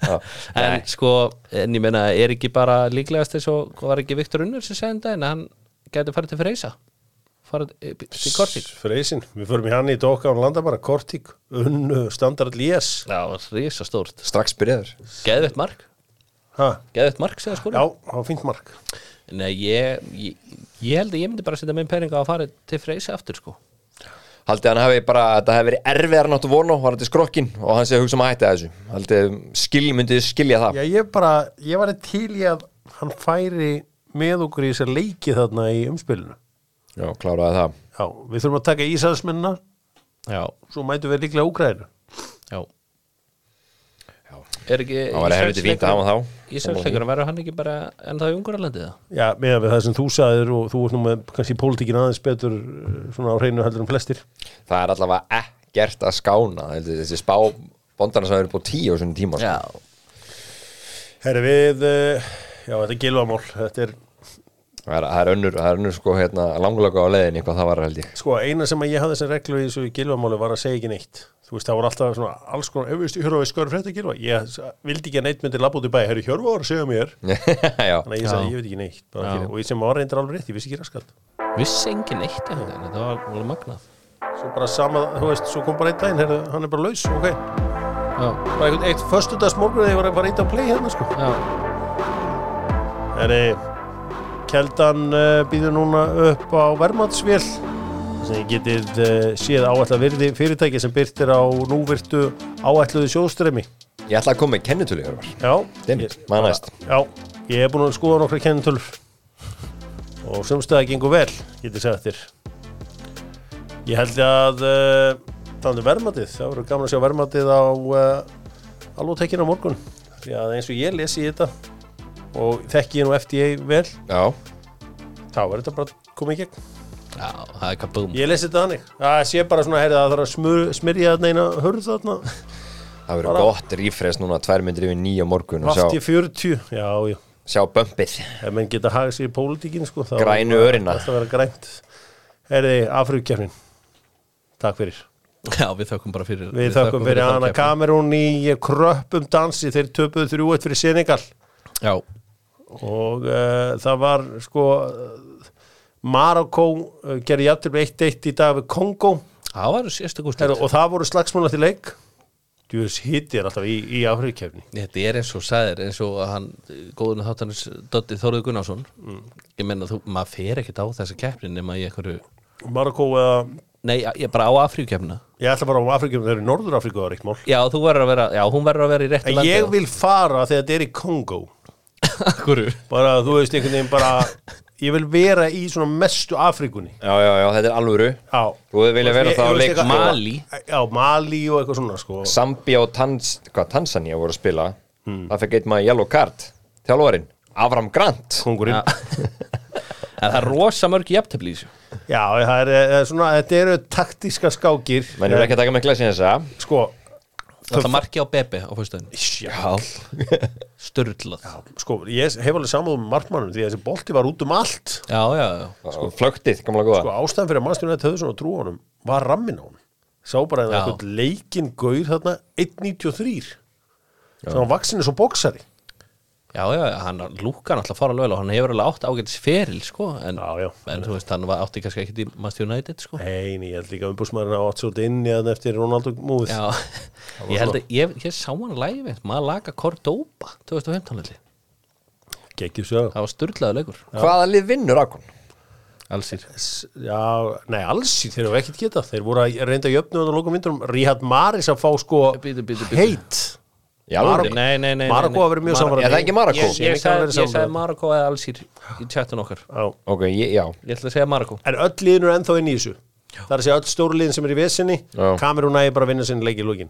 Speaker 3: það Ah.
Speaker 2: en sko, en ég meina, er ekki bara líklegast eins og hvað var ekki Viktor Unnur sem segði um daginn að hann gæti farið til Freysa, farið eh, til Korsík.
Speaker 1: Freysin, við förum í hann í Dokka og landa bara Kortík, Unnu, Standard Lies
Speaker 2: Já, risastórt.
Speaker 3: strax byrjaður
Speaker 2: Geðveikt mark,
Speaker 1: ha.
Speaker 2: geðveikt mark, segja sko.
Speaker 1: Já, það var fínt mark
Speaker 2: Nei, ég, ég, ég held að ég myndi bara setja minn peninga á að fara til Freysa aftur, sko.
Speaker 3: Haldið hann hafi bara, þetta hafi verið erfiðar náttu vonu, var þetta skrokkin og hann sé að hugsa um að hætta þessu Haldið, skil, myndið skilja það
Speaker 1: Já, ég bara, ég var til í að hann færi með okkur í þessar leiki þarna í umspilinu
Speaker 3: Já, kláraði það
Speaker 1: Já, við þurfum að taka Ísraelsmennina
Speaker 2: Já,
Speaker 1: svo mætum við líklega Úgrænu
Speaker 2: já. Er ekki
Speaker 3: Það væri helviti fínt að hafa hann þá.
Speaker 2: Ísraelsleikurinn verður hann ekki bara ennþá í Ungarlandið það?
Speaker 1: Já, meðan við það sem þú sagðir og þú ert nú með kannski pólitíkin aðeins betur eh, svona á hreinu heldur en flestir
Speaker 3: Það er allavega ekkert að skána heldur, þessi spá bóndarna sem hefur búið tíu á svona tíma sko.
Speaker 1: Herri við, eh, já þetta er gilvamál þetta er
Speaker 3: það, er, það er önnur, það er önnur sko, hérna, langlega á leiðinni hvað það var held ég
Speaker 1: sko eina sem að ég hafði sem reglu í þessu gilvamáli var að segja ekki neitt þú veist það voru alltaf svona alls konar ef við stu hörfa við skörf frétta gilva ég s- vildi ekki að neitt myndi labba út í bæ herri hörfa var að segja mér
Speaker 3: Já,
Speaker 1: þannig að ég sagði ég veit ekki neitt bara
Speaker 2: Já.
Speaker 1: fyrir- og ég sem var reyndir alveg rétt ég vissi ekki raskat
Speaker 2: Vissi engin eitt einhvern veginn, þetta var alveg magnað
Speaker 1: svo bara sama þú veist svo kom bara einn daginn herri hann er bara laus ok
Speaker 2: Já,
Speaker 1: bara eitthvað eitt förstudags morgun þegar ég var, var eitt að play hérna sko
Speaker 2: já,
Speaker 1: herri Kjeldan uh, býður núna upp á vermaðsvél sem þið getið uh, séð áætla virði fyrirtæki sem byrtir á núvirtu áætluðu sjóðstremi
Speaker 3: ég ætla að koma með kennitölu Hjörvar.
Speaker 1: Já,
Speaker 3: Dimmt,
Speaker 1: ég-
Speaker 3: maður næst.
Speaker 1: Já, ég hef búin að skoða nokkra kennitölur og sumstæða gengur vel, getur sagt þér Ég held að uh, þannig verðmatið, það verður gaman að sjá verðmatið á uh, alvotekkinu á morgun því að eins og ég lesi í þetta og þekki ég nú FDA vel
Speaker 3: Já,
Speaker 1: þá verður þetta bara komið í gegn
Speaker 2: já, það er kaboom
Speaker 1: Ég lesi þetta þannig, það sé bara svona heyrið að það þarf að smur, smyrja þarna eina hörð þarna
Speaker 3: það verður
Speaker 1: Bara-
Speaker 3: gott rífres núna tvær myndir yfir nýja morgun og
Speaker 1: Vafti
Speaker 3: sjá,
Speaker 1: 40, já, já
Speaker 3: sjá bömpið
Speaker 1: ef menn geta hagað sér í pólitíkin sko, þá-
Speaker 3: Grænu örina.
Speaker 1: Það verður grænt Herði, Afríkjafnin Takk fyrir
Speaker 2: Já, við þökkum bara fyrir
Speaker 1: Við þökkum fyrir
Speaker 2: þá
Speaker 1: Anna
Speaker 2: keppni.
Speaker 1: Kamerún í kröppum dansi þeir töpuðu 3-1 fyrir Senegal
Speaker 2: Já,
Speaker 1: og uh, það var sko Marokko uh, gerði játtur 1-1 í dag við Kongo
Speaker 2: það var sérstakur
Speaker 1: Herri,
Speaker 2: stund
Speaker 1: og það voru slagsmála til leik Djúðis hitti er alltaf í, í Afríkjafni
Speaker 2: Þetta er eins og sæðir, eins og að hann góðun þáttanins Dotti Þorður Gunnarsson
Speaker 1: Mm.
Speaker 2: Ég menna þú, maður fer ekkert á þessa keppni nema í einhverju
Speaker 1: Marokko, uh,
Speaker 2: Nei, ég bara á Afríkjafna
Speaker 1: ég ætla bara á Afríkjafni þeir eru Norður Afríku það er eitt mál
Speaker 2: Já, þú verður að vera, já, hún verður að vera í réttu
Speaker 1: En
Speaker 2: landi
Speaker 1: ég vil fara þegar þetta er í Kongo
Speaker 2: Hverju?
Speaker 1: bara, þú veist, einhvern veginn bara ég vil vera í svona mestu Afrikunni
Speaker 3: Já, já, já, þetta er alvöru
Speaker 1: Já
Speaker 3: Þú vilja vera
Speaker 1: Ég- ég
Speaker 3: það að
Speaker 1: veist
Speaker 3: leik
Speaker 1: eitthvað-
Speaker 3: sko,
Speaker 2: Mali.
Speaker 1: Já, Mali og eitthvað svona, sko
Speaker 3: Sambía og Tans, hvað, Tansania voru að spila það fekk eitt maður yellow card þjálfarinn, Avram Grant
Speaker 1: Kongurinn
Speaker 2: En það er rosa mörg jafntefli í þessu
Speaker 1: Já, það er, eh, svona, þetta eru taktíska skákir
Speaker 3: menn eru ekki að taka með glæsin þessa
Speaker 1: Sko,
Speaker 2: Það er marki á Bebe á fyrstæðinu
Speaker 3: Já,
Speaker 2: Sturlað Já,
Speaker 1: sko, ég hef alveg samúð um markmannum því að þessi bolti var út um allt
Speaker 2: já, já,
Speaker 3: sko, flöktið, gamla góða
Speaker 1: Sko, ástæðan fyrir að mannstjónu þetta höfðu svona trú á honum var rammin á honum Sá bara að
Speaker 2: Já.
Speaker 1: það eitthvað leikinn gaur þarna 1.93 Svo hann vaksin er svo bóksari
Speaker 2: já, já, já hann lúka náttúrulega fara vel og hann hefur alveg átt ágætis feril, sko en,
Speaker 1: Já, já.
Speaker 2: en þú veist, hann var átti kannski ekkit í Mast United, sko
Speaker 1: Nei, nei, ég held líka umbúsmaðurinn á 8 svolítið inni að eftir Ronaldo múið
Speaker 2: Já, Ég held að, ég, ég sá hann lægi með Malaga Cordoba 2015 held ég.
Speaker 1: Gekki svo
Speaker 2: Það var styrlaðu leikur
Speaker 3: Hvaða lið vinnur Akon?
Speaker 2: Allsýr
Speaker 1: Sko. Já, nei, alls í þeir eru ekkert geta Þeir voru að reynda að jöfnu þannig að lokum vindurum Ríhad Maris að fá sko
Speaker 2: Bíddu, bíddu, bíddu.
Speaker 1: heit
Speaker 3: Já, alveg.
Speaker 2: Nei, nei, nei, nei,
Speaker 1: Marokko
Speaker 2: nei.
Speaker 1: hafa verið mjög
Speaker 2: Mar-
Speaker 1: samfara
Speaker 3: Er það ekki Marokko?
Speaker 2: Ég, ég,
Speaker 1: Ég kann
Speaker 2: sagði-
Speaker 1: verið
Speaker 2: ég
Speaker 1: sammála.
Speaker 2: sagði Marokko eða Allsýr í chatun okkar
Speaker 1: Já.
Speaker 3: Ok, ég, já
Speaker 2: Ég ætla að segja Marokko
Speaker 1: En öll liðin eru ennþá inn í þessu Það er að segja öll stóru liðin sem er í vesinni
Speaker 3: Já.
Speaker 1: Kamerún ægir bara að vinna sinni leik í lókin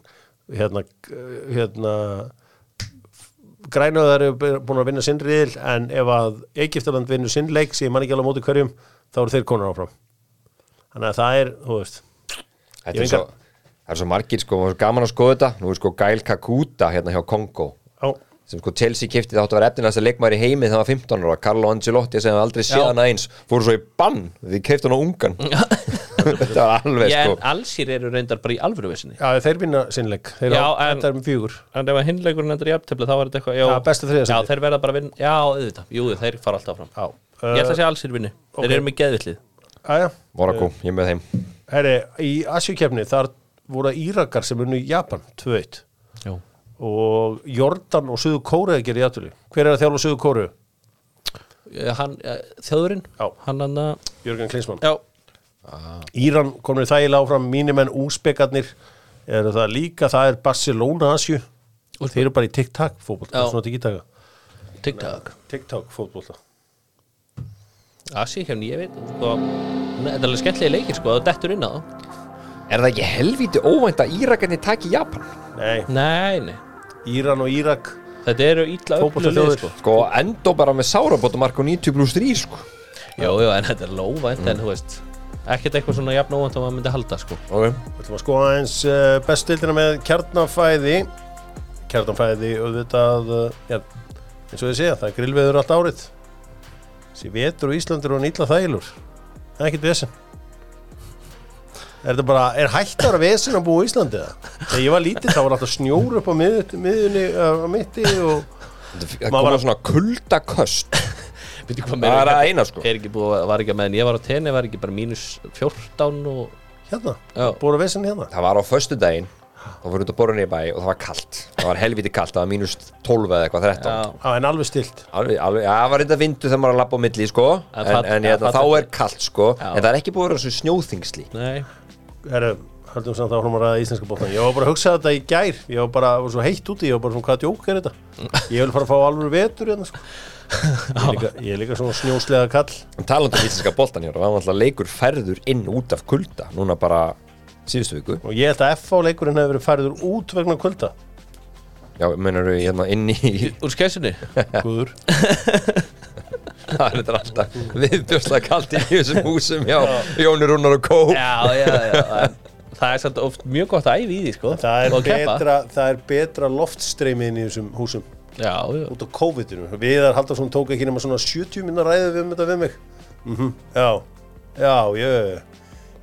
Speaker 1: Hérna, eh, hérna Grænöðar eru búin að vinna sinn riðil En ef að Egyptaland vinnur sinn leik sem ég man ekki alveg á móti hverjum þá eru þeir konar áfram Þannig að það er, þú veist
Speaker 3: Þetta
Speaker 1: Ég
Speaker 3: er svo,
Speaker 1: engan-
Speaker 3: það er svo margir sko, og gaman að skoða þetta Nú er sko Gail Kakuta hérna hjá Kongo
Speaker 1: Já,
Speaker 3: sem sko Chelsea kipti það átti að vera efnilegasta leikmaður í heimi þegar hann var 15 ára, Carlo Ancelotti sem aldrei séð hana eins, fóru svo í bann því keifti hann á ungan þetta var alveg
Speaker 2: Ég, en
Speaker 3: sko
Speaker 2: Allsýr eru reyndar bara í alvöru vesinni
Speaker 1: Já, þeir vinna sinn leik Þeir
Speaker 2: Já,
Speaker 1: á,
Speaker 2: en-
Speaker 1: þetta er um fjögur
Speaker 2: En ef að hinleikurinn endur í aftöfla þá var þetta eitthvað Já,
Speaker 1: Já, bestu þriðja
Speaker 2: Já,
Speaker 1: sæti.
Speaker 2: þeir verða bara að vinna Já, auðvitað, jú, þeir fara alltaf fram
Speaker 1: Já.
Speaker 2: Ég ætla að segja Allsýr vinni Þeir eru með geðvillið
Speaker 1: Æja,
Speaker 3: Morakó, ég er með þeim
Speaker 1: herri, í Asjukefni þar voru Írakar sem unnu í Japan 2-1
Speaker 2: Já
Speaker 1: og Jordan og Suðu Kóru gerir játuli Hver er að þjálfa Suðu Kóru?
Speaker 2: Hann, eh, þjóðurinn
Speaker 1: Já.
Speaker 2: Hann hann að
Speaker 1: Jörgen Klinsmann
Speaker 2: Já
Speaker 1: Íran komur þægilega áfram, mínimenn úsbekarnir eru það líka, það er Barcelona Asju og þeir eru bara í TikTok fótbolta,
Speaker 2: Já.
Speaker 1: svona TikTok
Speaker 2: TikTok
Speaker 1: TikTok fótbolta
Speaker 2: Asi, hérna, ég veit sko, Þetta er alveg skemmtilegi leikir, sko Það dettur inn á þá
Speaker 3: Er það ekki helvíti óvænt að Írakarnir taki Japan?
Speaker 1: Nei,
Speaker 2: Nei, nei
Speaker 1: Íran og Írak
Speaker 2: Þetta eru ítla öllu lið,
Speaker 1: Fótboltaþjóðir.
Speaker 2: sko
Speaker 3: Sko, endó bara með sárabótumark og 90 pluss 3 sko
Speaker 2: Jú, jú, en þetta er lóvænt En, þú veist Ekkert eitthvað svona jafn óvænt og maður myndi halda, sko
Speaker 3: okay.
Speaker 1: Við ætlum að skoða aðeins uh, bestildina með kjarnafæði kjarnafæði auðvitað uh, já, eins og ég segja, það er grillveður allt árið þessi vetur og Íslandur og nýtla þælur það er ekkert vesen Er þetta bara, er hættar að vesen að búa í Íslandi það? Þegar ég var lítið þá var alltaf snjór upp á mið, miðunni uh, á mitti og
Speaker 3: Það
Speaker 1: Maður
Speaker 3: koma
Speaker 1: var-
Speaker 3: svona kuldaköst
Speaker 2: Veitir hvað
Speaker 3: Það er
Speaker 2: meira
Speaker 3: að eina sko
Speaker 2: er ekki búið, var ekki að meðan ég var á tenni var ekki bara mínus 14 og
Speaker 1: hérna,
Speaker 2: Já.
Speaker 1: búið að vesen hérna
Speaker 3: Það var á föstudaginn þá fyrir út að borða niður í bæ og það var kalt Það var helvíti kalt, það var mínus 12 eða eitthvað 13
Speaker 2: já,
Speaker 1: Já, en alveg stilt
Speaker 3: Alveg, alveg, já, það var reynda vindu þegar maður er að labba á milli, sko
Speaker 2: En
Speaker 3: En,
Speaker 2: fall-
Speaker 3: en ég,
Speaker 2: en
Speaker 3: þá
Speaker 2: fall-
Speaker 3: er kallt, sko
Speaker 2: Já.
Speaker 3: En það er ekki búið að vera svo snjóþingsli
Speaker 2: nei,
Speaker 1: Herru, höldum samt áfram að ræða íslenska bóttan Ég var bara að hugsa þetta í gær Ég var bara, var svo heitt úti, ég var bara svona hvað djók er þetta Ég vil fara að fá alveg vetur hérna, sko. ég, er líka, ég er líka svona snjóslega kall
Speaker 3: En talandi um íslenska boltan hér Það var alltaf leikur færður inn út af kulda Núna bara síðustu viku
Speaker 1: Og ég held að FH leikurinn hefur verið færður út vegna kvölda
Speaker 3: Já, mennur við hérna inn í
Speaker 2: úr skessunni
Speaker 1: Guður
Speaker 3: Það er þetta alltaf viðbjörslega kalt inn í þessum húsum Já, Jóni Rúnar og Kó
Speaker 2: já, já, já en það er samt oft mjög gott að æfi í því sko
Speaker 1: Það er,
Speaker 2: og keppa.
Speaker 1: betra, það er betra loftstreymi inn í þessum húsum
Speaker 2: já, já,
Speaker 1: Út á COVID-inu Viðar Haldarsson tók ekki nema svona 70 minna ræðu við um þetta við mig mm Já, já, ég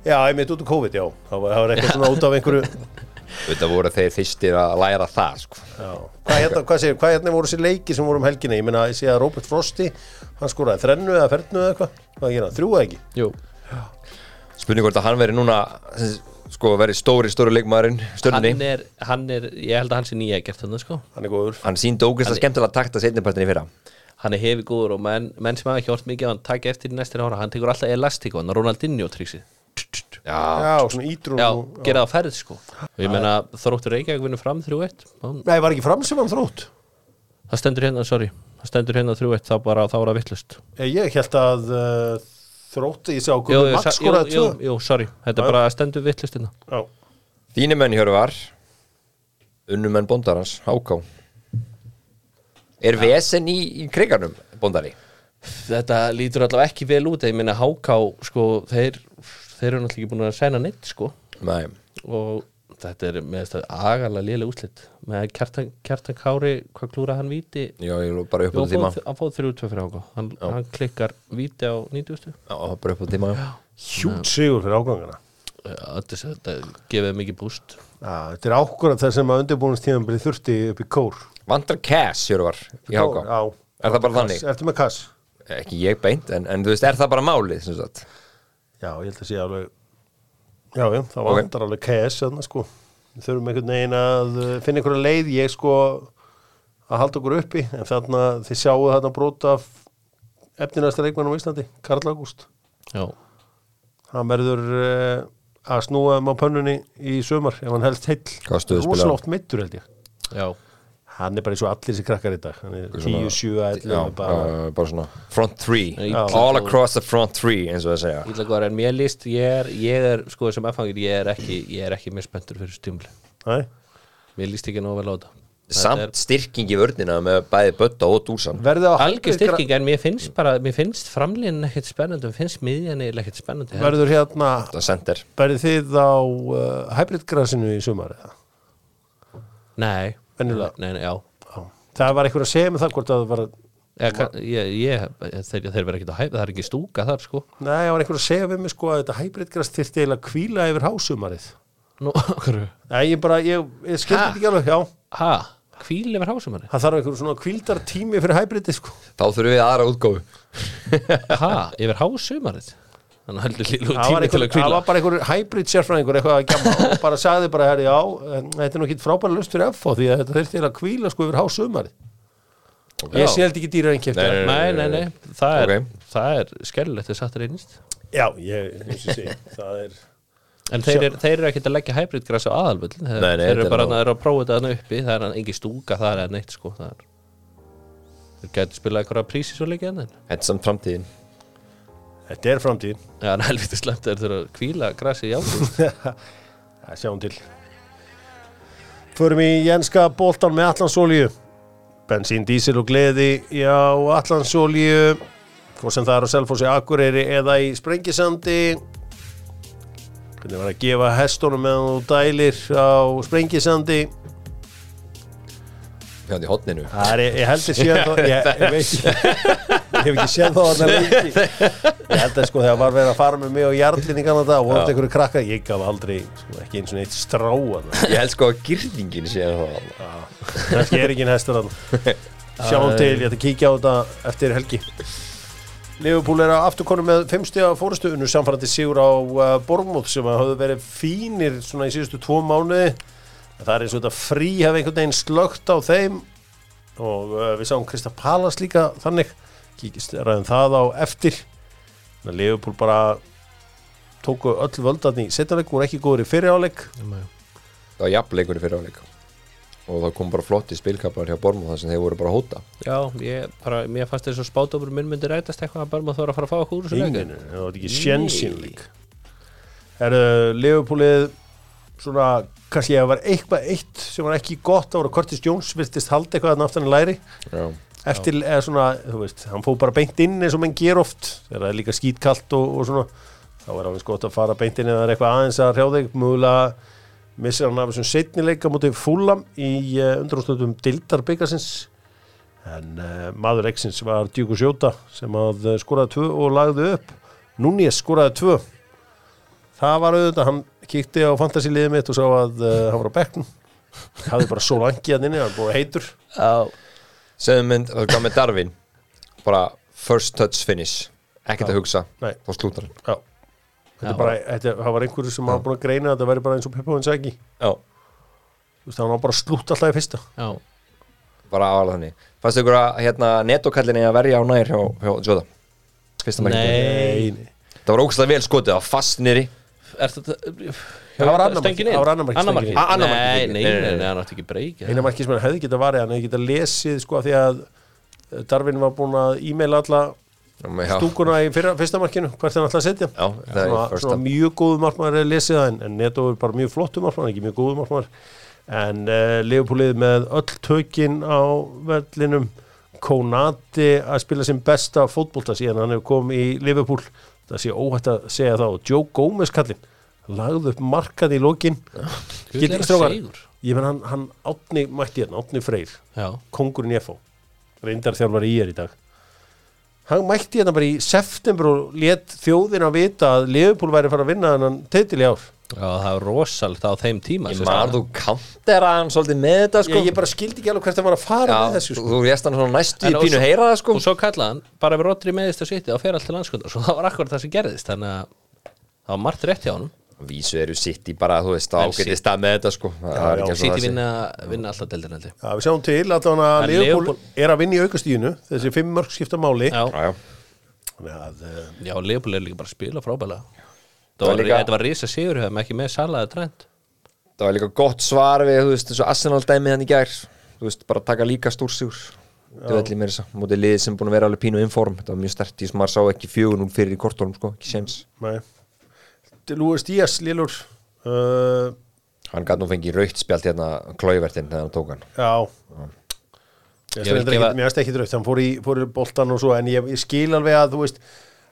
Speaker 1: Já, ég mitt út á COVID, já Það var, það var eitthvað svona út af einhverju
Speaker 3: Þetta voru þeir fyrstir að læra það, sko
Speaker 1: Já. Hvað hérna, hvað segir, hvað hérna voru þessi leiki sem voru um helgina? Ég meina, ég sé að Robert Frosti, hann skoraði þrennu eða fernu eða eitthvað. Hvað gerir hann? Þrjú eða ekki?
Speaker 2: jú
Speaker 3: Spurning hvort að hann veri núna Sko, veri stóri, stóri leikmaðurinn Störnni
Speaker 2: hann er, hann er, ég held að hann sé nýja gert þannig sko
Speaker 1: Hann er góður.
Speaker 3: Hann síndi ógeðslega skemmtilega takta setnipartin í fyrra
Speaker 2: hann er hefi góður og menn, menn sem hafa ekki hort mikið á hann takk eftir í næstir ára, hann tekur alltaf elastík hann Ronaldinho triksi
Speaker 3: Já,
Speaker 1: Já, og svona ítrún.
Speaker 2: já,
Speaker 1: og-
Speaker 2: gera það á ferð sko og ég menna þróttur Reykjavík vinnur fram 3-1 Hann-
Speaker 1: Nei, var ekki fram sem hann þrótt.
Speaker 2: það stendur hérna, sorry það stendur hérna 3-1, þá bara, þá er það vittlust
Speaker 1: Ég, Eh, ég held að uh, þrótt, ég sé á
Speaker 2: Jú,
Speaker 1: Gumi
Speaker 2: jú,
Speaker 1: Max
Speaker 2: sa- jú,
Speaker 1: skoraði
Speaker 2: jú,
Speaker 1: tvö.
Speaker 2: jú, sorry, þetta er bara að stendur hérna. vittlustina
Speaker 1: Já,
Speaker 3: Þínu menn Hjörvar Unnumenn bondarans, háká Er vesen í, í kriganum bondari?
Speaker 2: Þetta lítur allavega ekki vel út ég minna háká, sko, þeir þeir eru náttúrulega ekki búin að sæna neitt, sko
Speaker 3: Nei
Speaker 2: og þetta er með þetta agalega lélega úslit með kjartan, kjartan Kári, hvað klúra hann víti
Speaker 3: Já, ég er bara upp
Speaker 2: Jú,
Speaker 3: á tíma
Speaker 2: hann fóð- hann fóð þrjú tvö fyrir háká hann, hann klikkar víti á 90
Speaker 3: Já, bara upp á tíma já.
Speaker 1: hjút sigur fyrir ágangana.
Speaker 2: þetta, þetta gefið mikið búst
Speaker 1: Já, þetta er ákvörðan þar sem að undirbúinstíðan byrði þurfti upp í kór.
Speaker 3: Vandrar cash, Hjörvar, í háká
Speaker 1: Já.
Speaker 3: Er það bara
Speaker 1: Kass,
Speaker 3: þannig?
Speaker 1: ertu með kass?
Speaker 3: Ekki ég beint, en, en þú veist, er það bara málið sem sagt?
Speaker 1: Já, ég held að sé alveg, já, já, það
Speaker 3: Ok.
Speaker 1: vandar alveg KS, þarna, sko. þurfum einhvern veginn að uh, finna einhverja leið ég sko að halda okkur uppi en þarna þið sjáu þarna brot af efninasta leikmann á Íslandi Karl Ágúst
Speaker 2: Já,
Speaker 1: hann verður uh, að snúa um á pönnunni í sumar ef hann helst heill
Speaker 3: Hvað stöðu spilar hann?
Speaker 1: oft mittur held ég
Speaker 2: já,
Speaker 1: hann er bara eins og allir sem krakkar í dag hann er 10, 7, 11
Speaker 3: já,
Speaker 1: bara,
Speaker 3: já, bara svona front three,
Speaker 2: Já.
Speaker 3: all across the front three eins og það segja
Speaker 2: ítla góðar en mér list, ég er, ég er sko sem F-hangir, ég er ekki, ég er ekki misspöntur fyrir stimli,
Speaker 1: Nei.
Speaker 2: mér líst ekki nóg vel á þetta Þetta er-
Speaker 3: samt styrking í vörnina með bæði Bötta og Dúsan
Speaker 1: verðið á
Speaker 2: algjör styrking en mér finnst bara, mér finnst framlíðin ekkert spennandi, mér finnst miðjan eiginlega ekkert spennandi
Speaker 1: verður hérna
Speaker 3: það sendir
Speaker 1: verður þið á uh, hybridgrasinu í sumar eða?
Speaker 2: nei,
Speaker 1: Venjulega.
Speaker 2: nei, nei, já
Speaker 1: Já. það var einhver að segja með það hvort að það var
Speaker 2: Eða, kann- ég, ég, þeir, þeir vera ekkert að hæpa, það er ekki stúka þar sko
Speaker 1: Nei, það var einhver að segja við mig sko að þetta hybridgras þyrfti eiginlega að kvíla yfir hásumarið
Speaker 2: Nú, hverju?
Speaker 1: Nei, ég bara, ég, ég skildi
Speaker 2: Ha?
Speaker 1: þetta ekki alveg, já
Speaker 2: ha, hvíl yfir hásumanni
Speaker 1: Það þarf einhver svona kvíldar tími fyrir hybridið sko
Speaker 3: þá þurfum við aðra útgóðu
Speaker 2: ha, yfir hásumarið þannig að heldur lílu
Speaker 1: Það var,
Speaker 2: tími
Speaker 1: einhver,
Speaker 2: til að
Speaker 1: það
Speaker 2: hvíla
Speaker 1: var bara einhver hybrid sérfræðingur eitthvað að gjamma og bara sagði bara, herri, já, en þetta er nú ekki frábæra löst fyrir FH því að þetta þurfti eiginlega að kvíla sko yfir hásumarið
Speaker 2: Já.
Speaker 1: Ég seldi ekki dýra einhvern
Speaker 3: Nei,
Speaker 1: kefti
Speaker 2: nei, nei, nei, Eh, það er,
Speaker 3: Ok.
Speaker 2: það er skellulegt þess aftur einnist
Speaker 1: Já, ég, eins og sé, það er
Speaker 2: En þeir, er, þeir eru ekkert að leggja hybridgræs á aðalvöld Þeir,
Speaker 3: Nei, nei,
Speaker 2: þeir
Speaker 3: þetta
Speaker 2: eru
Speaker 3: er
Speaker 2: bara
Speaker 3: nóg.
Speaker 2: að, að prófa þetta hann uppi Það er engin stúka þar eða neitt sko það er. Þeir gæti spilað eitthvað prísi svo leikið en
Speaker 3: þetta er samt framtíðin
Speaker 1: Þetta er framtíð
Speaker 2: Já, en helviti slemt þeir þurfa að kvíla græsi í ákvöld
Speaker 1: Það sjáum til Förum í jenska boltan með Allansolíu Bensín, dísil og gleði Já, Allansolíu Hvor sem það er á Selfossi Akureyri eða í Sprengisandi Hvernig var að gefa hestunum meðan þú dælir á Sprengisandi
Speaker 3: hérna í hotninu
Speaker 1: Það er, ég held ég séð þá ég, ég veit ekki Ég hef ekki séð þá að það lengi Ég held að sko þegar var verið að fara með mig og jarlinni kannan það og vonandi einhverju krakka ég gaf aldrei, sko, ekki eins og neitt stráa það
Speaker 3: ég held sko að girðingin sé það
Speaker 1: kannski er ekki hestur hann sjáum til, ég ætla að kíkja á þetta eftir helgi Liverpool er að afturkonu með fimmstíða fórustuðinu samfærandi sigur á uh, Bormóð sem að hafðu verið fínir svona í síðustu tvo mánuði það er eins og þetta frí hef einhvern veginn slögt á þeim og uh, við sáum Krista Palas líka þannig kíkist ræðum það á eftir Þannig að Liverpool bara tóku öll völdarni í setjarleik voru ekki góður í fyriráleik
Speaker 3: var jafnleikur í fyrirháleik og það kom bara flott í spilkaplar hjá Bormú þar sem þeir voru bara að hóta
Speaker 2: Já, ég, bara, mér fannst þess að spátófur minn myndi rætast eitthvað að bara maður þóra að fara að fá okkur úr þessu leik.
Speaker 1: Enginu, það var ekki sjensinleik Er uh, Leopoldið svona, kannski ef var eitthvað eitt sem var ekki gott, það voru Curtis Jones virtist halda eitthvað að aftan í læri
Speaker 3: já.
Speaker 1: eftir, eða svona, þú veist, hann fóð bara beint inn eins og menn ger oft, þegar það er líka skítkalt og, og svona, þá er alveg eins gott að fara beint inn eða það er eitthvað aðeins að hrjá þig mjögulega missir hann af þessum setnileika mútið fúlam í uh, undrarústöndum Dildarbyggjarsins en uh, maður X-ins var Djúku Sjóta sem að uh, skoraði tvö og lagði upp Núni skoraði tvö það var auðvitað, hann kíkti á fantasíliðið mitt og sá að uh, hann var á bekknum hafði bara sólangi hann inni, hann var búið heitur
Speaker 2: Já,
Speaker 3: segðum mynd, það gaf með Darvin bara first touch finish ekkert að hugsa,
Speaker 1: Nei.
Speaker 3: þá slútar hann
Speaker 1: Já Þetta er
Speaker 2: Já.
Speaker 1: bara, þetta, það var einhverju sem var búin að greina að þetta væri bara eins og Peppa hans ekki
Speaker 3: já.
Speaker 1: Þú veist, hann var bara að slútt alltaf í fyrsta
Speaker 2: já,
Speaker 3: bara aðalega þannig fannst ykkur að hérna, netokallin er að verja á nær hjá, hjá Jóta fyrsta markið
Speaker 2: nei
Speaker 1: nei.
Speaker 3: það var ógæslega vel skotið, það var fast niðri
Speaker 2: Er þetta, hérna,
Speaker 1: Það var annað markið,
Speaker 2: Stöngin inn?
Speaker 1: það var annað markið,
Speaker 2: Annað
Speaker 1: stöngin
Speaker 2: markið.
Speaker 3: inn. Eh. Annað markið.
Speaker 2: Nei, nei, nei, nei, hann átti ekki breyk
Speaker 1: Eina markið sem hann hefði getað varið hann hefði getað lesið sko af því að eh, Darvin var búin að e-maila alla
Speaker 3: Já, með- já.
Speaker 1: stúkuna í fyrra, fyrsta markinu hvert hann alltaf að setja
Speaker 3: Já, það er
Speaker 1: svona,
Speaker 3: first
Speaker 1: svona
Speaker 3: up.
Speaker 1: mjög góðu markmaður er lesið það en, en Neto er bara mjög flottu markmaður ekki mjög góðu markmaður en uh, Leopoldið með öll tökin á vellinum Konati að spila sem besta fótbolta síðan hann hefur kom í Liverpool það sé óhætt að segja þá Joe Gómez kallinn lagði upp markað í lokin
Speaker 2: Gull er
Speaker 1: Getið
Speaker 2: að
Speaker 1: strókar
Speaker 2: sigur.
Speaker 1: ég menn hann, hann átni mætti hérna, átni freyr
Speaker 2: Já,
Speaker 1: kongurinn í FO reyndar þjálfari í er í dag hann mætti hérna bara í september og let þjóðina vita að Leopold væri fara að vinna þennan titil í ár
Speaker 2: já, það var rosalt á þeim tíma
Speaker 3: ég
Speaker 2: sem
Speaker 3: man
Speaker 2: sagt.
Speaker 3: þú kantera hann svolítið með þetta sko
Speaker 1: ég, ég bara skildi ekki alveg hvert það var að fara með
Speaker 3: já,
Speaker 1: þessu sko.
Speaker 3: þú lést hann svona næstu
Speaker 2: En
Speaker 3: í
Speaker 2: og
Speaker 3: pínu
Speaker 2: svo-
Speaker 3: heyra það sko
Speaker 2: og svo kallaði hann bara ef Rodri meðist að sitja og fer allt til landskund og svo það var akkurat það sem gerðist þannig að það var margt rétt hjá hann
Speaker 3: Vísu eru sitt í bara, þú veist, ágæti stað með þetta sko Það er ekki eins og
Speaker 2: City
Speaker 3: það sé.
Speaker 2: vinna, vinna alltaf deildin heldur
Speaker 1: Já, við sjáum til að þannig að
Speaker 2: En
Speaker 1: Leopold
Speaker 2: Liverpool-
Speaker 1: er að vinna í aukastíðinu þessi fimm mörg skipta máli
Speaker 2: Já,
Speaker 3: Já, já
Speaker 1: Þannig að, eh,
Speaker 2: já Leopold er líka bara að spila frábæla
Speaker 3: Það
Speaker 2: Það
Speaker 3: var
Speaker 2: var,
Speaker 3: líka-
Speaker 2: þetta var risa sigur höfum ekki með salaði trend
Speaker 3: Það var líka gott svar við, þú veist, eins og Arsenal dæmið hann í gær Þú veist, bara taka líka stúrsjúr Þú veit, mér þess að, mótið liðið sem búin að vera alveg pínu inform Þetta var mjög stert, því sem maður sá ekki fjögur núl fyrir í kortónum, sko, ekki séns
Speaker 1: nei Lúis Díaz, Lillur uh,
Speaker 3: Hann gæti nú fengið raukt spjald hérna klóivertinn þegar hann tók hann
Speaker 1: Já
Speaker 2: Ég vil
Speaker 1: Mér
Speaker 2: gefa-
Speaker 1: finnst ekki draugt, hann fór í, fór í boltan og svo en ég, ég skil alveg að þú veist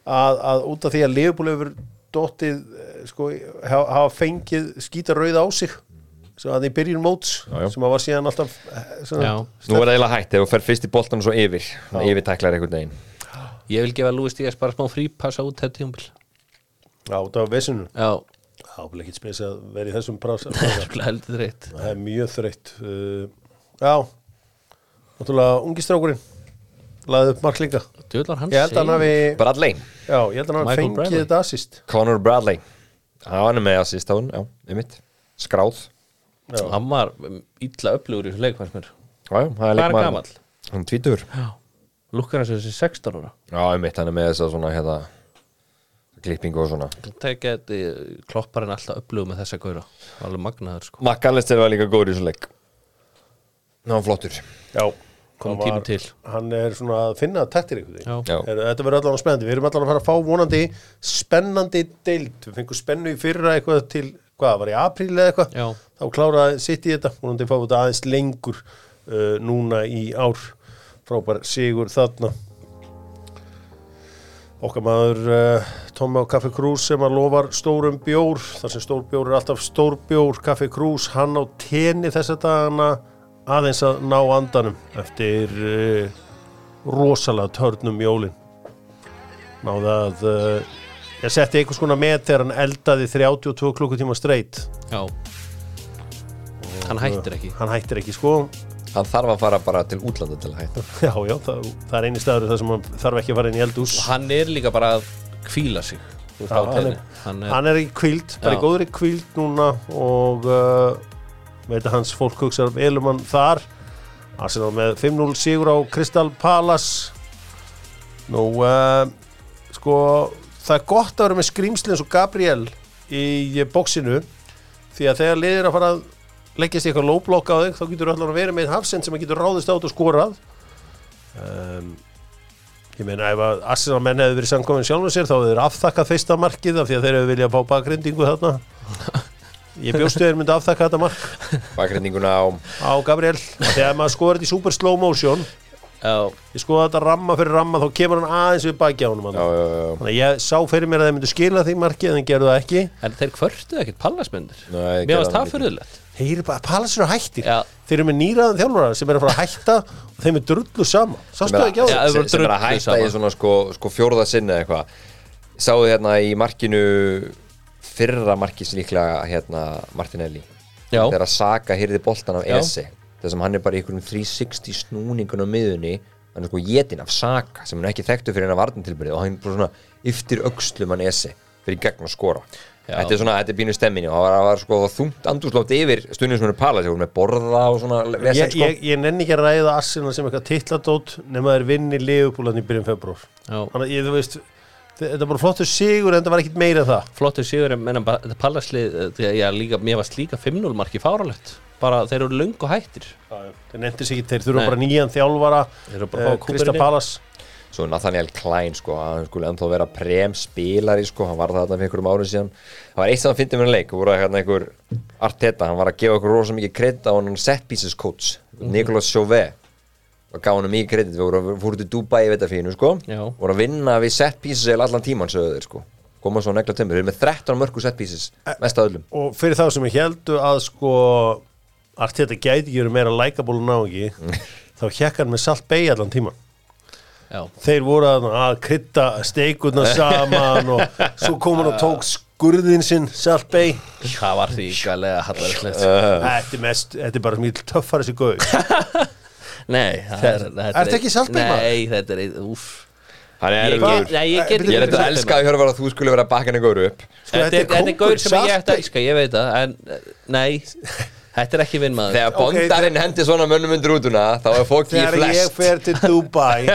Speaker 1: að, að út af því að Leopold hefur dottið, eh, sko, hafa hafa fengið skýta rauð á sig
Speaker 2: Mhm.
Speaker 1: sem að því byrjun móts
Speaker 3: Já, já.
Speaker 1: sem að var síðan alltaf eh, svona,
Speaker 2: Já.
Speaker 3: Nú er það eiginlega hægt, ef þú fer fyrst í boltan og svo yfir Þannig yfirtæklar einhvern veginn
Speaker 2: Ég vil gefa Lúi Stígas bara smá frípassa út þetta tjómbil
Speaker 1: já, út af vesinu
Speaker 2: Já,
Speaker 1: Já, vil ekki spes að vera í þessum prasa
Speaker 2: það er örugglega heldur reitt
Speaker 1: Það er mjög þreytt uh, Já Náttúrulega ungi strákurinn Laðið upp mark líka
Speaker 2: Djöðlar hann
Speaker 1: Ég held að hann hafi,
Speaker 3: Bradley,
Speaker 1: já, ég held að hann hafi
Speaker 2: Michael
Speaker 1: fengið
Speaker 2: Bradley.
Speaker 1: þetta assist
Speaker 3: Conor Bradley Já, Hann er með assist á hann, já, einmitt Skráð
Speaker 1: Já.
Speaker 2: Hann var um, illa upplugur í þessu leik fannst mér
Speaker 3: Já, já,
Speaker 2: Hvað
Speaker 3: það er
Speaker 2: er hann
Speaker 3: leikmaður-
Speaker 2: gamall?
Speaker 3: Hann tvítur
Speaker 2: Lukkar hans þessi 16 ára
Speaker 3: Já, einmitt, hann er með þess að svona hérna, klippingu og svona
Speaker 2: Tekja þetta klopparinn alltaf upplugur með þessa góra Alveg magnaður sko
Speaker 3: Makkalister var líka góður í þessum leik Ná, hann flottur
Speaker 1: Já,
Speaker 2: Kom
Speaker 1: hann var-
Speaker 2: tími til.
Speaker 1: Hann er svona að finna taktir ykkur
Speaker 2: Já.
Speaker 3: Já.
Speaker 1: Þetta verður allan spennandi, við erum allan að fara að fá vonandi spennandi deild Við fengum spennu í fyrra eitthvað til, hvað, var í apríl eða eitthvað
Speaker 2: Já.
Speaker 1: Þá kláraði sitt í þetta, vonandi fá þetta aðeins lengur uh, núna í ár Frábær sigur þarna Okkar maður uh, Tommi á Kaffi Krús sem að lofar stórum bjór þar sem stór bjór er alltaf stór bjór Kaffi Krús, hann á tenni þessa dagana aðeins að ná andanum eftir uh, rosalega törnum jólin náði að uh, ég setti einhvers konar met þegar hann eldaði 32 klukkutíma streitt
Speaker 2: Já Hann hættir ekki
Speaker 1: hann hættir ekki sko
Speaker 3: Hann þarf að fara bara til útlanda til að hætta
Speaker 1: já já, það, það er eini staður þar sem hann þarf ekki að fara inn í eldús
Speaker 2: Hann er líka bara að kvíla sig Þú veist,
Speaker 1: Já,
Speaker 2: á
Speaker 1: hann
Speaker 2: tenni.
Speaker 1: er-
Speaker 2: Hann er
Speaker 1: hann er í kvíld, bara í
Speaker 2: Já.
Speaker 1: góðri kvíld núna og uh, veit að hans fólk hugsa vel um hann þar Arsenal með 5-0 sigur á Crystal Palace nú uh, sko það er gott að vera með skrýmslinn og Gabriel í bóksinu því að þegar liðir að fara að leggjast í eitthvað lóblokk á þig þá getur allan að vera með einn hafsend sem að getur ráðist át og skorað um, ég meina ef að Arsenal menn hefur verið samkomin sjálfum sér þá hefur þeir afþakkað fyrsta markið af því að þeir hefur viljað fá bakrindingu þarna ég bjóstu þeir myndi afþakka þetta mark
Speaker 3: Bakrendinguna á
Speaker 1: á Gabriel þegar maður skoður þetta í super slow motion
Speaker 2: Já,
Speaker 1: ég skoða þetta ramma fyrir ramma þá kemur hann aðeins við baki á honum
Speaker 3: Já,
Speaker 1: þarna.
Speaker 3: já, já, já.
Speaker 1: þannig að ég sá fyrir mér að þeir myndu skila því markið en þeir gerðu það ekki
Speaker 2: en þeir kvörtu ekkert pallasmyndir
Speaker 3: Nei,
Speaker 2: Mér
Speaker 3: gerðu
Speaker 2: varst
Speaker 3: hann
Speaker 2: það
Speaker 3: ekki.
Speaker 2: fyrirlegt
Speaker 1: þeir eru bara, Palace eru hættir
Speaker 2: Já.
Speaker 1: þeir eru með nýraðan þjálfara sem eru að fara að hætta og þeim er drullu sama sástu það ekki á því?
Speaker 2: Já,
Speaker 3: sem,
Speaker 2: þau
Speaker 3: sem,
Speaker 2: voru
Speaker 3: sem er að
Speaker 2: drullu
Speaker 3: hætta
Speaker 2: saman.
Speaker 3: í svona sko, sko fjórða sinni eða eitthvað Sáðu hérna í markinu fyrra markis líklega hérna Martinelli
Speaker 2: Já.
Speaker 3: Þegar að Saka hyrði boltan af
Speaker 2: Já.
Speaker 3: Esi Þessum hann er bara í einhverjum 360 snúningun á miðunni Hann er sko jetin af Saka sem hann er ekki þekktu fyrir hennar varnatilbyrði og hann bara svona yftir öxlum hann Esi fyrir gegn að skora
Speaker 2: Já.
Speaker 3: Þetta er svona, þetta er bínu stemminni og það var, það var sko þungt andúslátt yfir stundum sem hann er palað með borða og svona vesen,
Speaker 1: ég,
Speaker 3: sko.
Speaker 1: ég, ég nenni ekki að ræða Arsenal sem eitthvað titladót nema þeir vinni liðupúlan í byrjun februar
Speaker 2: Já,
Speaker 1: þannig að ég, þú veist þe- þetta er bara flottur sigur en þetta var ekkit meira en það
Speaker 2: flottur sigur en menna pallaslið eh, því að ég líka, mér varst líka 5-0 marki fáralegt bara þeir eru löngu hættir
Speaker 1: þeir nefndis ekki, þeir þurfa
Speaker 2: Nei.
Speaker 1: bara nýjan þjálfara eh,
Speaker 2: Þeir eru bara að fá kúberinn
Speaker 1: Krista
Speaker 2: inn.
Speaker 1: Palas
Speaker 3: Svo Nathaniel Klein sko, að hann skulle ennþá vera premspilari sko, hann var það þarna fyrir einhverjum árið síðan það var eitt sem hann fyndi með hann leik, voru hérna einhver Arteta, hann var að gefa okkur rosa mikið kredit á hann set pieces coach, Nicolas Chauvet og gaf hann mikið kredit, við vorum fórum til Dubai í vetafínu sko,
Speaker 2: Já.
Speaker 3: voru að vinna við set pieces eða allan tíman sögðu þeir sko koma svo að negla tömur, þeir eru með 13 mörgu set pieces mest að öllum,
Speaker 1: og fyrir þá sem ég heldu að sko Arteta gæti ekki verið meira likeable en náingi þá hjekk hann með salt beig allan tíman
Speaker 2: Já,
Speaker 1: þeir voru að, að krytta steikurna saman og svo kom hann og tók skurðin sinn salt beig
Speaker 2: það var því gælega hallarlegt
Speaker 1: þetta er mest, þetta er bara mjög töffar þessi gauð
Speaker 2: Nei, það er, þetta
Speaker 1: ertu ekki saltbeigur, maður?
Speaker 2: Nei, þetta er, úff
Speaker 3: Hann er
Speaker 2: Ég
Speaker 3: erfiður.
Speaker 2: get- nei,
Speaker 1: Eh,
Speaker 2: ég get
Speaker 3: Ég er
Speaker 2: ekki sagt
Speaker 3: þetta
Speaker 2: um
Speaker 3: elska að hjörfa að þú skulle vera bakkan að góru upp
Speaker 1: Sko,
Speaker 2: Þetta er, þetta er
Speaker 1: kóngur,
Speaker 2: gaur sem ég ætti
Speaker 1: samt-
Speaker 2: að elska, ég veit það En eh, nei, þetta er ekki minn maður
Speaker 3: Þegar
Speaker 1: Ok,
Speaker 3: bondarinn hendi svona mönnum undir útuna þá er fólk í
Speaker 1: Þegar ég
Speaker 3: flest
Speaker 1: fer til Dubai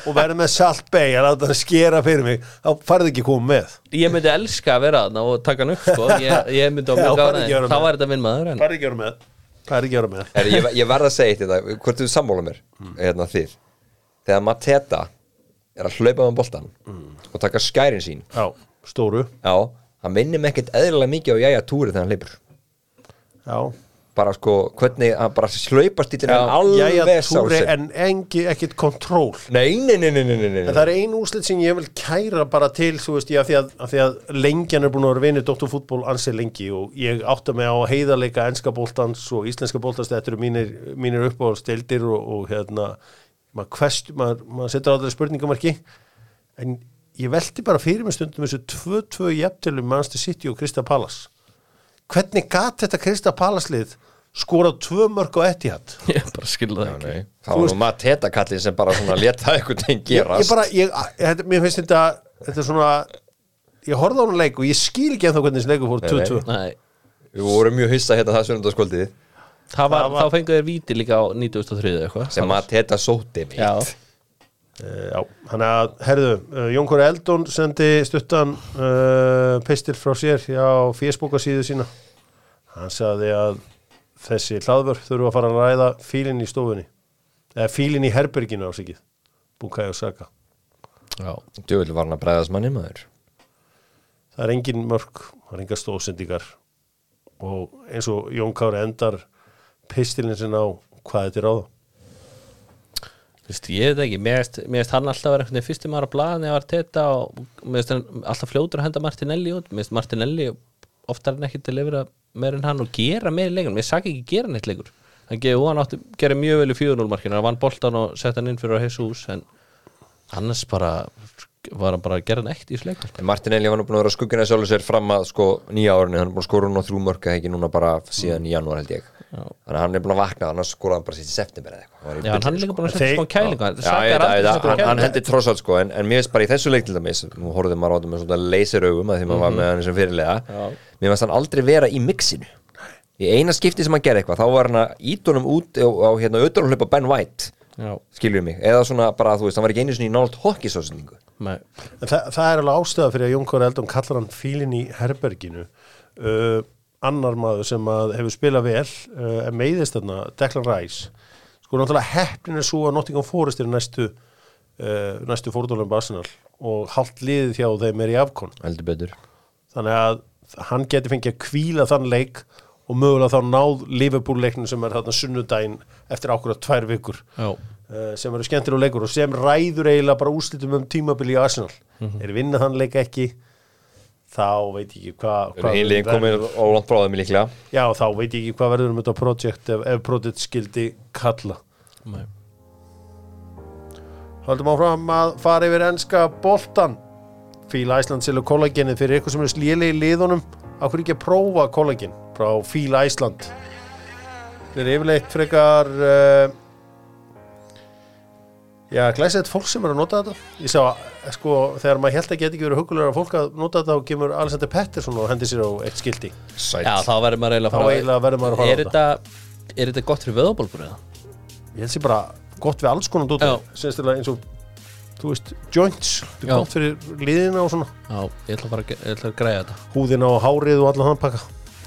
Speaker 1: og verður með Salt Bay að láta hann skera fyrir mig, þá farið ekki að koma með.
Speaker 2: Ég myndi elska að vera þarna og taka hann upp sko. ég, ég myndi á
Speaker 1: Já,
Speaker 2: mjög
Speaker 1: farðu
Speaker 2: gána
Speaker 1: ekki að vera
Speaker 2: Þá
Speaker 1: með.
Speaker 2: var þetta minn maður en...
Speaker 1: Farið ekki að vera með. Farið ekki að vera með.
Speaker 3: Herri, ég, ég verð að segja eitt þetta, hvort þú sammála mér hérna þið, þegar Mateta er að hlaupa með boltan og taka skærin sín
Speaker 1: Já, stóru.
Speaker 3: já, hann minnir mig ekkert eðlilega mikið á jæja túri þegar hann hleypur
Speaker 1: Já.
Speaker 3: bara sko, hvernig hann bara hlaupast í þetta
Speaker 1: Jæja,
Speaker 3: alveg sá
Speaker 1: túri
Speaker 3: sig
Speaker 1: en engi, ekkit kontról.
Speaker 3: Nei, nei, nei, nei, nei, nei, nei.
Speaker 1: En það er ein úslit sem ég vil kæra bara til, þú veist, ég, af því að, af því að lengjan er búin að vera vinið doktorfútból ansi lengi og ég átta mig á heiðarleika enska bóltans og íslenska bóltans, þetta eru mínir, mínir uppáðstildir og, og hérna, maður, kvest, maður, maður setur á það spurningamarki, en ég velti bara fyrir mig stundum þessu 2-2 jafntölu Manchester City og Krista Palace. Hvernig gat þetta Krista Palace-lið skorað tvö mörg á Etihad?
Speaker 2: Ég bara skilða það ekki
Speaker 3: Nei, Það var nú Mateta kallið sem bara svona let það einhvern veginn
Speaker 1: ég, ég
Speaker 3: gerast
Speaker 1: bara, ég, þetta, mér finnst þetta þetta er svona, ég horfði á hún leik og ég skil ekki ennþá hvernig þessi leiku fór
Speaker 3: Nei,
Speaker 1: 22
Speaker 2: Nei,
Speaker 3: Við vorum mjög hissa hérna það sunnundaskvöldið
Speaker 2: það var,
Speaker 1: Það var-
Speaker 2: þá fengu þeir víti líka á 93 eða eitthvað
Speaker 3: sem Mateta sótti mig
Speaker 2: Já,
Speaker 1: Eh, Já, hann að, herðu, uh, Jón Kori Eldon sendi stuttan uh, pistil frá sér hjá fésbóka síðu sína hann sagði að þessi hlaðvörf þurfa að fara að ræða fílinn í stofunni eða fílinn í herberginu ásækið Bukai og Saka
Speaker 2: já
Speaker 3: Djöfull var hann að bregðast manni maður
Speaker 1: það er engin mörg, það er engar stóðsendingar og eins og Jón Kári endar pistilin sinna á hvað þetta er á það
Speaker 2: Vist, ég veit ekki, mér finnst- mér finnst hann alltaf vera einhvern veginn fyrsti maður á blaðan eða var teta og mér finnst hann alltaf fljótur að henda Martinelli út, mér finnst Martinelli oftar en ekki til yfir að meira en hann og gera meira í leikunum, ég sagði ekki gera neitt leikur hann gefur hann átti, gerir mjög vel í 4-0 markinu, hann vann boltan og sett hann inn fyrir að hessu hús, en annars bara var hann bara að gera neitt í sleikur
Speaker 3: En Martinelli var nú búin að vera skuggin að sjálfur sér fram að sko nýja árinu, hann er búin að skora hún á þrjú mörg eða ekki núna bara síðan
Speaker 2: Mm.
Speaker 3: í janúar held ég þannig að hann er búin að vakna, annars skoraði hann bara sitt í september eða eitthvað Hann var í
Speaker 2: Já, en hann
Speaker 3: byrjun,
Speaker 2: er líka
Speaker 3: sko.
Speaker 2: búin að setja
Speaker 1: Þeir-
Speaker 2: smá kælingu hann
Speaker 3: Já, ég
Speaker 2: sakar
Speaker 3: veit að-
Speaker 2: aldrei þessa
Speaker 3: ég veit að- hann,
Speaker 2: kælingu.
Speaker 3: hann hendi trossað sko en, en mér finnst bara í þessu leik til dæmis nú horfðum maður á þetta með svona leysiraugum að því maður var með hann sem fyrirlega
Speaker 2: Mhm. Já.
Speaker 3: mér finnst hann aldrei vera í mixinu í eina skipti sem hann gerði eitthvað þá var hann að ítunum út á, á hérna auðvitaðurhlaupa Ben White
Speaker 2: Já,
Speaker 3: skiljum mig eða svona bara þú veist hann var ekki einu sinni í nált hokkisásningu
Speaker 2: nei,
Speaker 1: En það, það er alveg ástæða fyrir að Jón Kóri Eldon kallar hann fílinn í herberginu uh, annar maður sem að hefur spilað vel uh, en meiðist þarna, Declan Rice sko náttúrulega heppnin er svo að Nottingham Forest er næstu uh, næstu fórdólum Arsenal og hálft liðið hjá þeim er í afkon
Speaker 3: heldur betur
Speaker 1: þannig að hann geti fengið að kvíla þann leik og mögulega þá náð Liverpool leiknum sem er þarna sunnudaginn eftir ákvörða tvær vikur
Speaker 2: já,
Speaker 1: eh, sem eru skemmtir og leikur og sem ræður eiginlega bara úrslitum um tímabili í Arsenal mm -hmm. er vinna þann leik ekki þá veit ég ekki hvað hva
Speaker 3: Hinlegin komið á langt bráðum líklega
Speaker 1: já þá veit ég ekki hvað verður um þetta projekt ef, ef projekt skildi kalla
Speaker 2: nei
Speaker 1: Haldum áfram að fara yfir enska boltan. Fíla Æsland selur kollagenið fyrir eitthvað sem er slíli í liðunum. Akkur ekki að prófa kollagen frá Fíla Æsland. Þeir eru yfirleitt frekar... Uh, já, glæsilegt fólk sem er að nota þetta. Ég sá að, sko, þegar maður held að geta ekki verið hugulegur að fólk að nota þetta og kemur Alexander Pettersson og hendi sér á eitt skildi.
Speaker 3: Sæt
Speaker 2: Já, þá verður maður eiginlega
Speaker 1: Þá
Speaker 2: að fara-
Speaker 1: eiginlega verður maður að fara á
Speaker 2: Er þetta, er þetta gott fyrir vöðabólgur eða?
Speaker 1: Ég held sér bara gott við alls konar dóttur.
Speaker 2: Já.
Speaker 1: Sérstilega eins og, þú veist, joints. Þetta
Speaker 2: Já.
Speaker 1: er gott fyrir liðina og svona.
Speaker 2: Já, ég ætla bara að, ég ætla að græja þetta
Speaker 1: húðina og hárið og allan hann pakka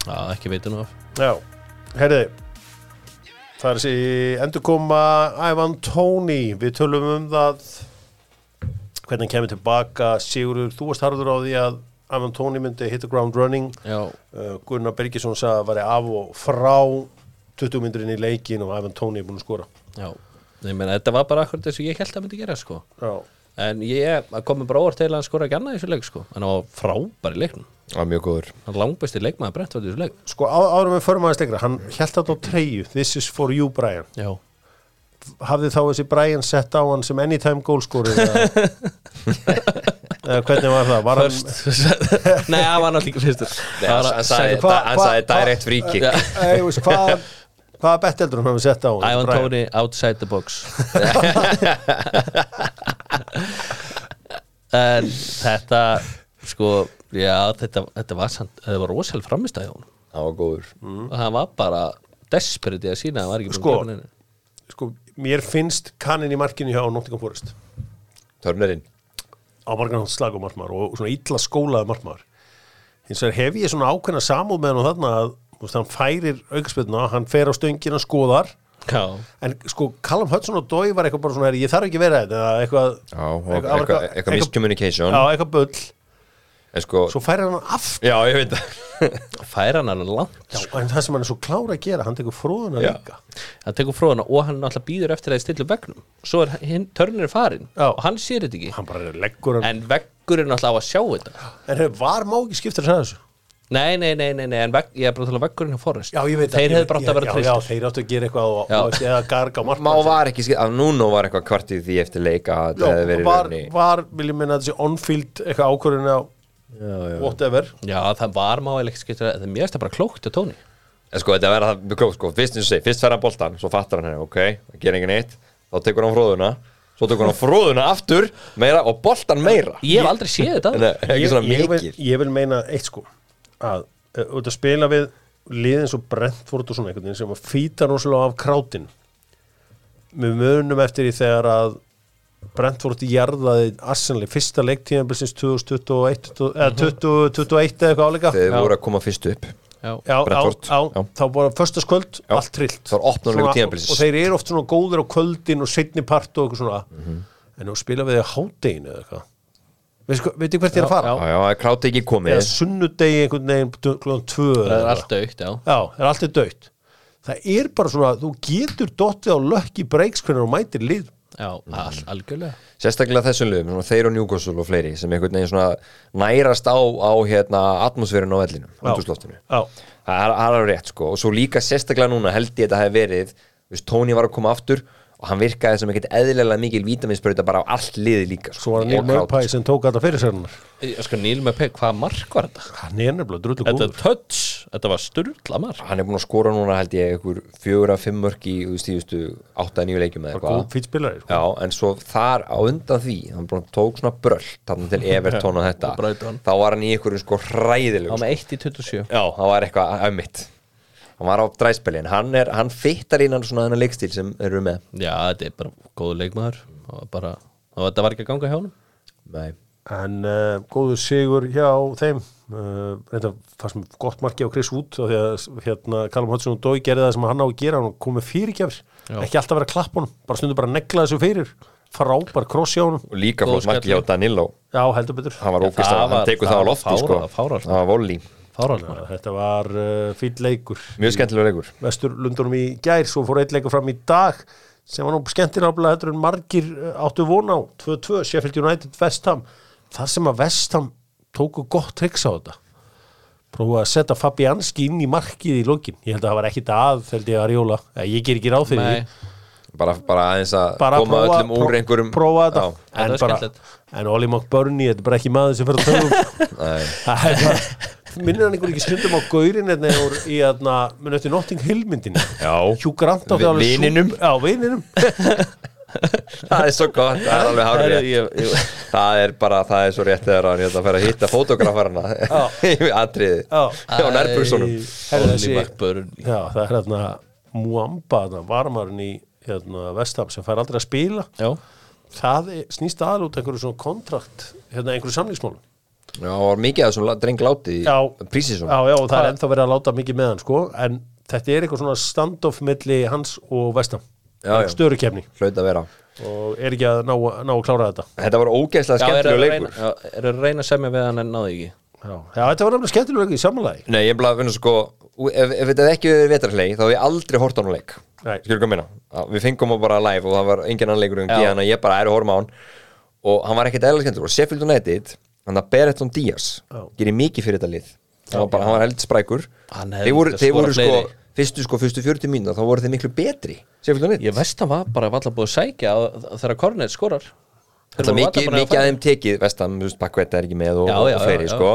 Speaker 2: Já, ekki veitu nú af
Speaker 1: Já, herriði Það er þessi endurkoma Ivan Tóni, við tölum um það hvernig hann kemur tilbaka Sigurður, þú varst harður á því að Ivan Tóni myndi hit the ground running
Speaker 2: Já,
Speaker 1: Uh, Gunnar Birgisson sagði að væri af og frá 20 myndurinn í leikin og Ivan Tóni er búin að skora
Speaker 2: já Nei, menn, þetta var bara akkur þess að ég held að myndi gera sko
Speaker 1: Já,
Speaker 2: En ég að komi bara óvart til að hann skora ekki annað í þessu leik sko En hann var frábær í leiknum
Speaker 3: Það var mjög góður
Speaker 2: Hann langbæsti leikmaður brent var í þessu leik
Speaker 1: sko á, árum við förum aðeins lengra hann held að á treyju, this is for you Brian
Speaker 2: Já
Speaker 1: hafði þá þessi Brian sett á hann sem anytime goalscorer eða eða hvernig var það? Var hann,
Speaker 2: Nei, hann var náttúrulega ekki fyrstur
Speaker 3: Nei, hann- hann sagði-
Speaker 1: Hva-
Speaker 3: hann
Speaker 1: hva-
Speaker 3: sagði
Speaker 1: hva-
Speaker 3: direct free kick
Speaker 2: Já.
Speaker 1: Nei, þú veist, hvað hvaða betteldur hann hafi sett á hann
Speaker 2: Ivan
Speaker 1: Brian?
Speaker 2: Tóni outside the box en þetta sko, já, þetta, þetta var, samt- þetta var rosal framist að honum
Speaker 3: það var góður
Speaker 2: og hann var bara desperate í að sína hann var ekki búinn að
Speaker 1: Sko.
Speaker 2: kaupa neinu.
Speaker 1: sko, mér finnst kannin í markinu hjá Nottingham Forest
Speaker 3: Törnerinn
Speaker 1: á margan hans slagum markmaður og svona illa skólaði markmaður hins vegar hef ég svona ákveðna samúð með hann og þarna að þú veist, hann færir aukaspilna, hann fer á stöngina skoðar
Speaker 2: já,
Speaker 1: en sko Callum Hudson og Dói var eitthvað bara svona "Herri, ég þarf ekki að vera þetta eða eitthvað
Speaker 3: Já, og
Speaker 1: það var
Speaker 3: eitthvað- eitthvað miscommunication.
Speaker 1: já, eitthvað bull,
Speaker 3: En sko,
Speaker 1: svo færir hann aftur
Speaker 3: já ég veit það
Speaker 2: færa hann alveg langt
Speaker 1: já, en það sem hann er svo klára að gera, hann tekur fróðuna
Speaker 3: Já.
Speaker 1: líka
Speaker 2: hann tekur fróðuna og hann náttúrulega býður eftir að þið stillu begnum svo er hinn törnir farin
Speaker 1: Já.
Speaker 2: og hann sér þetta ekki
Speaker 1: hann bara leggur hann,
Speaker 2: en veggur er náttúrulega á að sjá þetta
Speaker 1: en, en hef, var má ekki skiptir að segja þessu
Speaker 2: nei, nei, nei, nei, nei en veg, ég er bara að tala um veggurinn á Forrest
Speaker 1: já, ég veit það, ég
Speaker 2: þeir hefðu
Speaker 1: veit-
Speaker 2: brátt að
Speaker 1: já,
Speaker 2: vera
Speaker 1: já,
Speaker 2: trist
Speaker 1: þeir áttu að gera eitthvað og,
Speaker 2: Já.
Speaker 1: og, eða garga á
Speaker 3: Má
Speaker 1: markmaður
Speaker 3: var ekki, skil- að núna var eitthvað kvartið því eftir leika að
Speaker 1: Já,
Speaker 3: það hefði verið
Speaker 1: var,
Speaker 3: raunni
Speaker 1: var, vil ég minna þessi on-field eitthvað ákvörðin á whatever
Speaker 2: já, það var máileg ekki skipta það er mjög stað bara klókt á tóni
Speaker 3: En sko, þetta verða það klók, sko, fyrst eins og sé, fyrst fer hann boltan, svo fattar hann henni, ok, það gerir engin eitt, þá tekur hann fróðuna, svo tekur hann fróðuna aftur, meira, og boltan meira.
Speaker 2: ég hef aldrei séð þetta
Speaker 3: Nei, ekki svona
Speaker 1: ég,
Speaker 3: mikil.
Speaker 1: vil, ég vil meina eitt sko að eh, þú ert að spila við liðin svo Brentford og svona einhvern veginn sem að fýta rosalega af krátin við munum eftir í þegar að Brentford jarðaði Arsenal í fyrsta leiktíðanbilsins 2021 eða
Speaker 3: Mhm.
Speaker 1: 2021 eða eitthvað áleika
Speaker 3: Þeir voru að koma fyrst upp.
Speaker 2: já,
Speaker 1: Já, á,
Speaker 3: Brentford,
Speaker 1: á,
Speaker 3: já.
Speaker 1: þá bara föstaskvöld,
Speaker 3: Já.
Speaker 1: allt trillt
Speaker 3: Það var opnunarleikur
Speaker 1: Svona-
Speaker 3: tímabilsins.
Speaker 1: Og þeir eru oft svona góðir á kvöldin og seinni part og eitthvað svona
Speaker 3: Mhm.
Speaker 1: En þú spila við þeir hádeginu eða eitthvað Veistu hvað- Veitu hvert ég er að fara?
Speaker 3: Já, já, það kláti ekki
Speaker 1: Eða sunnudegi
Speaker 3: komið.
Speaker 1: einhvern veginn klúðan tvö
Speaker 2: það
Speaker 1: eða
Speaker 2: er
Speaker 1: eitthvað.
Speaker 2: allt aukt, já
Speaker 1: Já, það er alltaf döitt Það er bara svona, þú getur dottið á lökki breiks hvernig þú mætir lið
Speaker 2: já, all, algjörlega
Speaker 3: Sérstaklega þessum liðum, svona þeir og Newcastle og fleiri, sem einhvern veginn svona nærast á, á hérna, atmosférinu á vellinu, andrúsloftinu.
Speaker 1: Já,
Speaker 3: Það er- það er alveg rétt, sko, og svo líka sérstaklega núna held ég þetta hefði verið, þú veist, Tony var að koma aftur og hann virkaði sem ekkert eðlilega mikil vítaminsbreyta bara á allt liði líka. sko.
Speaker 1: svo var hann
Speaker 3: Og
Speaker 1: Neil
Speaker 3: Kraut.
Speaker 1: Murphy sem tók alltaf fyrir sérnar
Speaker 2: ég sko nýl með pek, hvaða mark var þetta?
Speaker 1: Hann er nefnilega drullu
Speaker 2: þetta
Speaker 1: góður
Speaker 2: er touch, þetta var sturla mark
Speaker 3: hann er búin að skora núna held ég ykkur fjögur af fimm mörk í stíðustu átta að nýju leikjum
Speaker 1: Bara
Speaker 3: eða
Speaker 1: góð
Speaker 3: eitthvað
Speaker 1: fýtt spilari sko.
Speaker 3: Já, en svo þar á undan því hann búin að tók svona bröll þarna til Evertón og þetta
Speaker 2: Og Brighton.
Speaker 3: þá var hann í ykkur sko hræðilegum
Speaker 2: á með 1 í 27
Speaker 3: Já, það var eitthvað ömmitt hann var á dræspilin, hann, er, hann fittar innan svona þennan leikstíl sem eru með
Speaker 2: já, þetta er bara góðu leikmaður og bara, og þetta var ekki að ganga hjá honum
Speaker 3: Nei.
Speaker 1: en uh, góður sigur hjá þeim uh, reynda fannst mér gott marki á Chris Wood af því að hérna Callum Hudson og Dói gerði það sem hann á að gera hann kom með fyrirgjafir,
Speaker 2: Já.
Speaker 1: ekki alltaf vera að klappa honum bara stundu bara að negla þessu fyrir frábær krossi á honum,
Speaker 3: og líka
Speaker 2: Góð
Speaker 3: fór marki hjá
Speaker 2: skellur.
Speaker 3: Danilo
Speaker 1: já heldur betur
Speaker 3: hann var
Speaker 2: Já,
Speaker 3: ógist
Speaker 2: það var-
Speaker 3: að hann tekur
Speaker 2: það
Speaker 3: það á
Speaker 2: var
Speaker 3: lofti
Speaker 2: fára-
Speaker 3: sko.
Speaker 2: fára, sko.
Speaker 3: það var volli,
Speaker 2: fárhaldsmaður
Speaker 1: Þannig að þetta var uh, fýll leikur
Speaker 3: mjög skemmtilega leikur
Speaker 1: vestur lundunum í gær, svo fór eitt leikur fram í dag sem var nú skemmtilega þetta en margir eh, áttu von á 2-2, Sheffield United, West Ham það sem að West Ham tóku gott triks á þetta prófa að setja Fabianski inn í markið í lokin, ég held að það var ekkit að held ég að Arjóla, Eh, ég ger ekki ráð fyrir því
Speaker 2: Nei,
Speaker 3: bara, bara aðeins að
Speaker 1: bara
Speaker 3: koma
Speaker 1: prófa,
Speaker 3: öllum úr
Speaker 1: pró-
Speaker 3: einhverjum
Speaker 1: prófa þetta
Speaker 3: Já.
Speaker 1: en,
Speaker 2: það er
Speaker 1: bara,
Speaker 2: skemmtilegt.
Speaker 1: en Oli McBurney, þetta er bara ekki maður sem fyrir að tölum
Speaker 3: Nei.
Speaker 1: Það er bara- minnir hann einhvern ekki stundum á gaurin hérna úr í hérna, mun eftir Notting Hill myndinni
Speaker 3: Já.
Speaker 1: Hugh Grant átti
Speaker 3: Vi-
Speaker 1: alveg sú-
Speaker 3: vininum.
Speaker 1: Já, vininum
Speaker 3: það er svo gott, það er alveg hárið
Speaker 2: Herru, ég- ég-
Speaker 3: það er bara, það er svo rétt þegar hann hérna fer að hitta fótografarna í atriði
Speaker 1: Já.
Speaker 3: á nærbursonum
Speaker 1: Herra,
Speaker 2: Olli
Speaker 1: þessi-
Speaker 2: McBurn
Speaker 1: Já, það er hérna Muamba, þarna, varmarinn í hérna, Vestham sem fær aldrei að spila
Speaker 2: Já,
Speaker 1: það er, snýst aðal út einhverju svona kontrakt hérna einhverju samlíksmálum
Speaker 3: já, og var mikið af þessum la- dreng láti
Speaker 1: Já.
Speaker 3: prísisum
Speaker 1: Já, já, og það er ennþá verið að láta mikið með hann sko, en þetta er eitthvað svona standoff milli hans og Vestham
Speaker 3: Já, já.
Speaker 1: störu kemni
Speaker 3: hlaut að vera
Speaker 1: og er ekki að ná, ná að klára þetta
Speaker 3: þetta var ógeðslega
Speaker 2: já eru að
Speaker 3: skemmtilega
Speaker 2: reyna-
Speaker 3: leikur
Speaker 2: já, eru að reyna að semja við hann en náðu ekki
Speaker 1: Já, já þetta var nefnilega skemmtilega í samanlægi
Speaker 3: nei, ég er bara að finna sko ef, ef þetta hefði ekki verið vetarleik, þá hef ég aldrei hort á hann leik
Speaker 1: Nei.
Speaker 3: skilur hvað ég meina, Að við fengum hann bara live og það var engin annan leikur um
Speaker 2: Já.
Speaker 3: því að ég bara er að horfa á hann og hann var ekkert eðla skemmtilega og Sheffield United, hann að Beretton Díaz
Speaker 1: Já.
Speaker 3: gerir mikið fyrir þetta lið hann var bara, hann var held sprækur
Speaker 2: Hann hefði
Speaker 3: þeir voru,
Speaker 2: getað
Speaker 3: þeir
Speaker 2: skorað
Speaker 3: voru sko,
Speaker 2: fleiri.
Speaker 3: fyrstu sko fyrstu 40 mínúna, þá voru þeir miklu betri Sheffield United,
Speaker 2: Ég veist hann var bara alltaf búið að sækja að- að þegar Kornet skorar Þeir
Speaker 3: þetta
Speaker 2: voru varla
Speaker 3: mikið,
Speaker 2: búin að
Speaker 3: mikið
Speaker 2: fara-
Speaker 3: að þeim tekið vestam, þú veist, Bakvetta er ekki með og,
Speaker 2: Já, já,
Speaker 3: og fleiri
Speaker 2: já, já.
Speaker 3: sko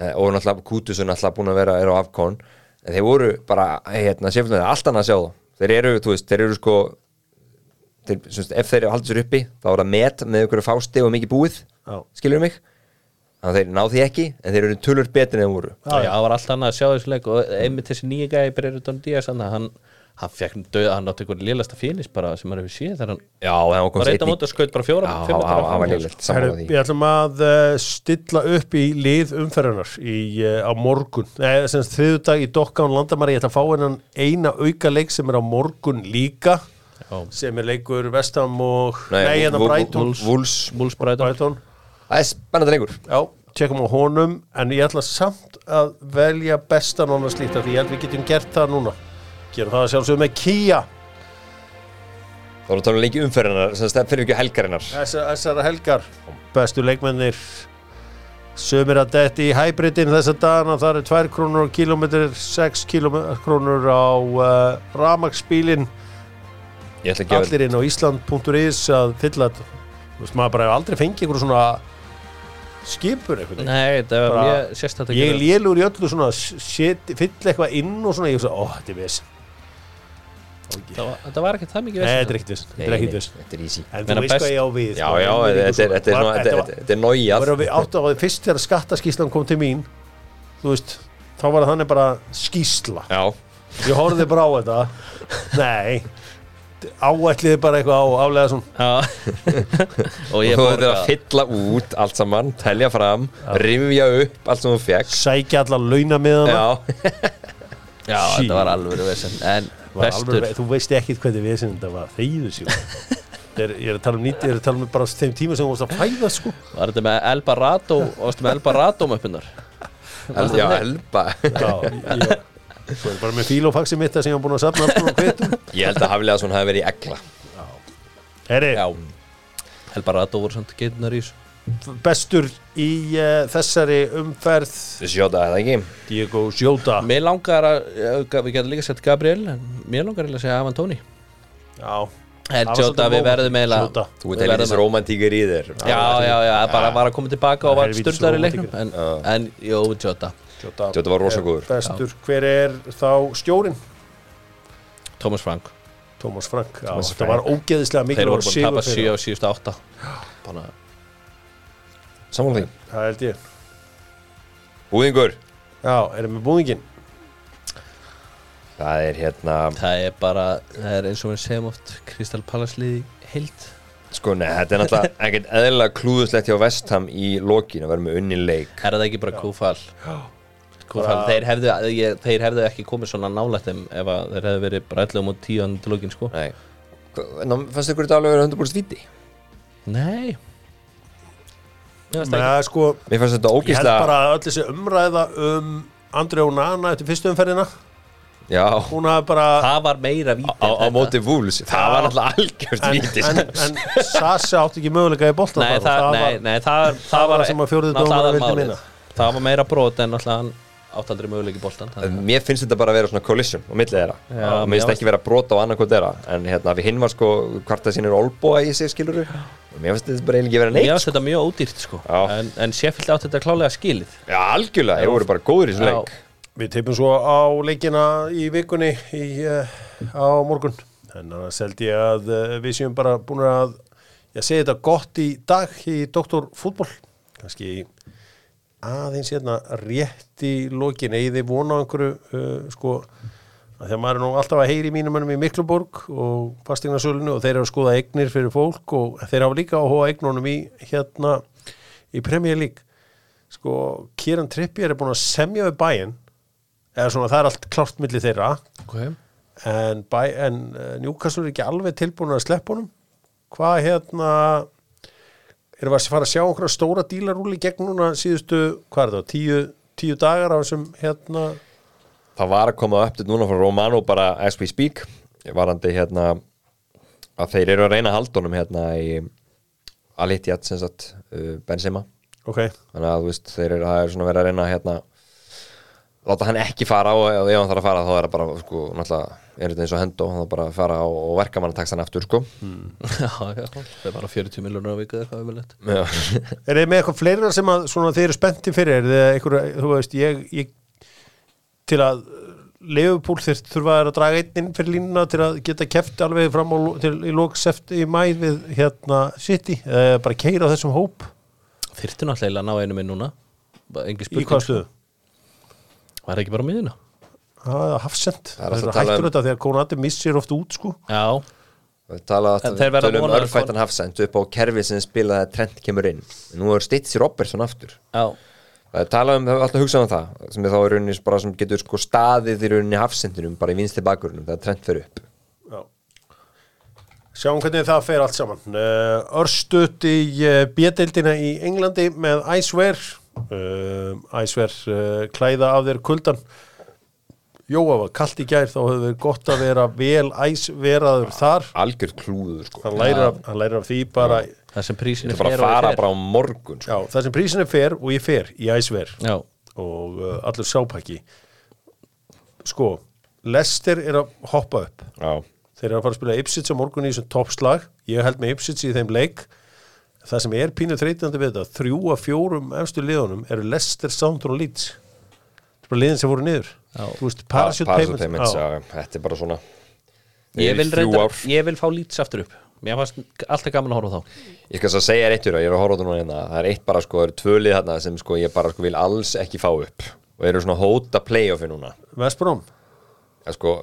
Speaker 3: Eh, og náttúrulega Kutus er náttúrulega búin að vera er á Afkon, en þeir voru bara hérna, Sheffield United, allt annað að sjá þá þeir eru, þú veist, þeir eru sko þeir, semst, ef þeir haldur sér uppi þá er það met með ykkur fásti og mikið búið
Speaker 1: Já.
Speaker 3: skilur mig þannig að þeir ná því ekki, en þeir eru tölur betri en þeir voru
Speaker 2: Já, það var allt annað að sjá þessu leik og einmitt þessi nýja gæði Breyrutón Díaz hann, hann, hann fekk döða, hann átti einhvern lélasta félis bara sem maður hefur séð þegar hann
Speaker 3: já, það var
Speaker 2: var
Speaker 3: komst
Speaker 2: reynda móti og skaut bara fjóra
Speaker 3: Já,
Speaker 2: fimm metra
Speaker 3: það var
Speaker 2: framhjá.
Speaker 3: lélegt
Speaker 1: Herru,
Speaker 3: sammála því
Speaker 1: við ætlum að uh, stilla upp í lið umferðunar í, uh, á morgun eh, sem sagt þriðu dag í Dokkan Landamari ég ætla að fá hennan eina auka leik sem er á morgun líka
Speaker 2: Já,
Speaker 1: sem er leikur Vestam og nei, hérna
Speaker 3: Vú- Vú-
Speaker 1: Brighton
Speaker 3: Wolves.
Speaker 2: Múls Breyrutón
Speaker 1: Brighton,
Speaker 3: það er spennandi leikur
Speaker 1: já, tjekkum á honum en ég ætla samt að velja bestan annars líta því ég held við getum gert það núna gerum það að sjálfsögum með Kia
Speaker 3: þá erum við talað leiki umferðinar sem stefn fyrir ekki helgarinnar
Speaker 1: Þessa- Þessara helgar Bestu leikmennir Sumir að detti í hybridin þessa dagana Það eru 2 krónur á kilometr 6 krónur á uh, ramagsbílin
Speaker 3: ég ætla að gefa
Speaker 1: Allir inn á Ísland.is að fylla þetta Þú veist maður bara hefur aldrei fengið einhver svona skipur einhvern veginn
Speaker 2: Nei, það var
Speaker 1: Bara-
Speaker 2: mjög sérstætt
Speaker 1: Ég er lélur í öllu svona set, fyll eitthvað inn og svona ég hugsa, ó, þetta er viss
Speaker 2: Það var ekki það mikið
Speaker 1: Nei,
Speaker 2: vesen.
Speaker 1: þetta er ekkert viss, þetta er ekkert viss
Speaker 3: þetta er easy
Speaker 1: En þú
Speaker 2: Meina
Speaker 1: veist
Speaker 2: best-
Speaker 1: hvað ég á við
Speaker 3: já,
Speaker 1: sko,
Speaker 3: já,
Speaker 1: einbeitingu
Speaker 3: þetta er- þetta er þetta er
Speaker 1: svona.
Speaker 3: svona þetta
Speaker 1: Þetta
Speaker 3: er-
Speaker 1: var-
Speaker 3: þetta er nójað
Speaker 1: Það við átt á því fyrst þegar skattaskíslan kom til mín Þú veist, þá var það þannig bara skísla
Speaker 3: já,
Speaker 1: Ég horfði bara á þetta Nei Áætliði bara eitthvað á, aflega svona
Speaker 2: Já Og
Speaker 3: þú
Speaker 2: ég
Speaker 3: þurftir að
Speaker 2: borga
Speaker 3: fylla út allt saman, telja fram rifja upp allt sem þú fekk
Speaker 1: Sækja alla launamiðana
Speaker 3: já,
Speaker 2: Já, þetta var alvöru vesen En
Speaker 1: Var alveg-
Speaker 2: bestur
Speaker 1: Þú veist ekki hvernig við sem þetta var Þegiðu sér er, Ég er að tala um nýtt, ég er að tala um bara þeim tíma sem þú varst að fæða sko
Speaker 2: Var þetta með Elbarado Varstu með Elbarado-möppunar
Speaker 3: El- já, elba
Speaker 1: Já, ég, Svo er bara með fílofaxi mitt sem ég var búin að safna alls konar kvitum
Speaker 3: ég held að Hafliðason hafi verið í egla
Speaker 1: Herri,
Speaker 2: Elbarado voru samt getunar í þessu
Speaker 1: bestur í uh, þessari umferð
Speaker 3: þessi sjóta, er það ekki?
Speaker 1: Diego Sjóta
Speaker 2: Mér langar að eh, Við getum líka sett Gabriel En mér langar eiginlega að segja Avan Tóni
Speaker 1: Já, Það
Speaker 2: En
Speaker 1: var
Speaker 2: Jóta,
Speaker 1: svolítið
Speaker 2: við
Speaker 1: móment.
Speaker 2: verðum eiginlega
Speaker 1: Jota.
Speaker 3: þú ert helvitins romantíkur í þér
Speaker 2: Já, já, já, það bara var að koma tilbaka og
Speaker 1: Það
Speaker 2: var
Speaker 1: er helvítis
Speaker 2: styrlaður í leiknum
Speaker 1: rómantíkur.
Speaker 2: En, en jú, Jota
Speaker 1: Jota
Speaker 3: Jota var rosa
Speaker 1: er
Speaker 3: góður.
Speaker 1: Eh, Bestur, hver er þá stjórin?
Speaker 2: Thomas Frank
Speaker 1: Tómas Frank, já,
Speaker 3: Thomas
Speaker 1: þetta var ógeðislega mikil
Speaker 2: Þeir voru búin að tapa
Speaker 1: sigur
Speaker 2: 7
Speaker 1: fyrir
Speaker 2: á síðustu 8 Bara
Speaker 3: samanlega því
Speaker 1: þá. Það held ég
Speaker 3: Búðingur,
Speaker 1: Já, erum við búðingin?
Speaker 3: það er hérna
Speaker 2: Það er bara, það er eins og við segjum oft Kristal Palace liði heilt
Speaker 3: sko, neða, þetta er náttúrulega ekkert eðlilega klúðuslegt hjá Vestham í lokin að vera með unni leik
Speaker 2: Er það ekki bara kúfall? Kúfall,
Speaker 1: Bara-
Speaker 2: þeir hefðu, ég, þeir hefðu ekki komið svona nálægt þeim ef að þeir hefðu verið bara 11 mútið 10 til lókin sko
Speaker 3: nei Ná, fannst ykkur þetta alveg verið 100% viti?
Speaker 2: Nei Já, það
Speaker 1: Nei, sko,
Speaker 3: Mér fannst
Speaker 1: ég
Speaker 3: þetta
Speaker 1: held
Speaker 3: ógísla
Speaker 1: bara að öll þessi umræða um André og Nana eftir fyrstu umferðina
Speaker 3: Já, á,
Speaker 1: Hún hafði bara
Speaker 2: það var meira víti en
Speaker 3: á
Speaker 2: þetta.
Speaker 3: móti Vúls Það var náttúrulega algjört
Speaker 1: En,
Speaker 3: viti
Speaker 1: en, en Sassi átti ekki möguleika í boltan
Speaker 2: Nei, það, nei, nei, það, það,
Speaker 1: það var
Speaker 2: var
Speaker 1: sem að fjórði
Speaker 2: náttúrulega
Speaker 1: dómarinn vildi
Speaker 2: aðalmálið.
Speaker 1: minna.
Speaker 2: Það var meira brot en alltaf hann átt aldrei möguleik í boltan
Speaker 3: En Mér finnst þetta bara að vera svona collision á milli þeirra
Speaker 2: Já,
Speaker 3: og Mér
Speaker 2: mér
Speaker 3: finnst ekki vera brot á annarkot þeirra En hérna, við hinn var sko kvartað sínur olbóa í sig skiluru Mér finnst þetta bara eiginlega ekki vera
Speaker 2: Mér
Speaker 3: neitt
Speaker 2: finnst þetta mjög ódýrt sko
Speaker 3: Já.
Speaker 2: en, en Sheffield átti þetta klálega skilið
Speaker 3: Já, algjörlega, þeir voru bara góður í þessu leik
Speaker 1: Við teipum svo á leikina í vikunni í, uh, á morgun en annars held ég að uh, við séum bara búin að ég segi þetta gott í dag í doktorfútból kannski aðeins hérna rétt í lokin eða þið vona á einhverju uh, sko að því að maður er nú alltaf að heyri mínum önum í Mikluborg og fastegnarsölinu og þeir eru að skoða eignir fyrir fólk og þeir hafa líka áhuga á eignunum í hérna í Premier League sko Kieran Trippier er búin að semja við bæinn eða svona það er allt klárt milli þeirra
Speaker 2: okay.
Speaker 1: en, bæ, en eh, Newcastle er ekki alveg tilbúin að sleppa honum hvað hérna erum við að fara að sjá okkur stóra dílarúli gegn núna síðustu, hvað er það, tíu, tíu dagar á þessum hérna
Speaker 3: Það var að koma upp til núna frá Romano bara as we speak varandi hérna að þeir eru að reyna að halda honum hérna í Alitjad sem sagt uh, Benzema
Speaker 1: ok,
Speaker 3: þannig að þú veist þeir eru það er svona verið að reyna að hérna láta hann ekki fara og ef ef hann þarf að fara þá er það bara sko náttúrulega er þetta eins og hend og hann þarf bara að fara og, og verka mann að taksa hann aftur sko
Speaker 2: Já, já, það er bara 40 miljónur á viku eða eitthvað umjöðlegt
Speaker 3: Já.
Speaker 1: er þið með eitthvað fleira sem að svona þeir eru spennti fyrir, er þið eitthvað þú veist, ég, ég til að Leifupúl þurft þurfa þeir að draga einn inn fyrir línuna til að geta keft alveg fram á, lo- til, í lókseft í mæ við hérna City, eða bara keira á þessum hóp
Speaker 2: þyrfti náttúrulega að ná einu minn núna Bara engin
Speaker 1: Í hvað
Speaker 2: spurning,
Speaker 1: stuðu?
Speaker 2: var það ekki bara á miðuna
Speaker 1: Það er hafsend
Speaker 3: Það
Speaker 1: Það
Speaker 3: er alltaf
Speaker 1: er
Speaker 3: að tala
Speaker 1: hættur
Speaker 3: um-
Speaker 1: þetta þegar Konati missir oft út sko
Speaker 2: já,
Speaker 3: Við tala
Speaker 2: En þeir verða
Speaker 3: tölum
Speaker 2: vonar-
Speaker 3: örfættan hafsend upp á kerfi sem spilaði að trend kemur inn Nú er Stitsi Robertson aftur
Speaker 2: já,
Speaker 3: Það er talað um, það er alltaf hugsað um það sem er þá í rauninni bara sem getur sko staðið í rauninni hafsendinum bara í vinstri bakgrunum það er trend fyrir upp
Speaker 1: Já. Sjáum hvernig það fer allt saman. Uh, Örstuðt í uh, B-deildina í Englandi með Icewear. Uh, Icewear uh, klæða af þér kuldan. Jóa var kallt í gær, þá hefur verið gott að vera vel æsveraður þar.
Speaker 3: algjör klúður sko
Speaker 1: Hann lærir, af, hann lærir af því bara,
Speaker 2: það sem prísin
Speaker 3: Það er bara að fara bara á morgun sko.
Speaker 1: já, það sem prísinu fer og ég fer í Icewear
Speaker 2: já,
Speaker 1: og uh, allur sápæki. Sko, Lester er að hoppa upp.
Speaker 3: Já,
Speaker 1: þeir eru að fara að spila Ipsits á morgun í þessum toppslag ég held með Ipsits í þeim leik það sem er pínu þreytandi við þetta þrjú af fjórum efstu liðunum eru Lester, Soundon og Leeds þetta er bara liðin sem voru niður
Speaker 2: Já.
Speaker 1: Þú veist,
Speaker 3: Parachute
Speaker 1: Parachute Payments,
Speaker 3: Payments,
Speaker 1: já.
Speaker 3: já, þetta er bara svona
Speaker 2: ég vil,
Speaker 3: Í þrjú
Speaker 2: reyndar,
Speaker 3: ár.
Speaker 2: ég vil fá lýts aftur upp mér fannst alltaf gaman að horfa á þá
Speaker 3: Ég skal svo segja réttur að ég er að horfa á þetta núna hérna Það er eitt bara sko, það eru tvölið þarna sem sko ég bara sko vil alls ekki fá upp og eru svona að hóta playoffi núna
Speaker 1: West Brom
Speaker 3: að sko,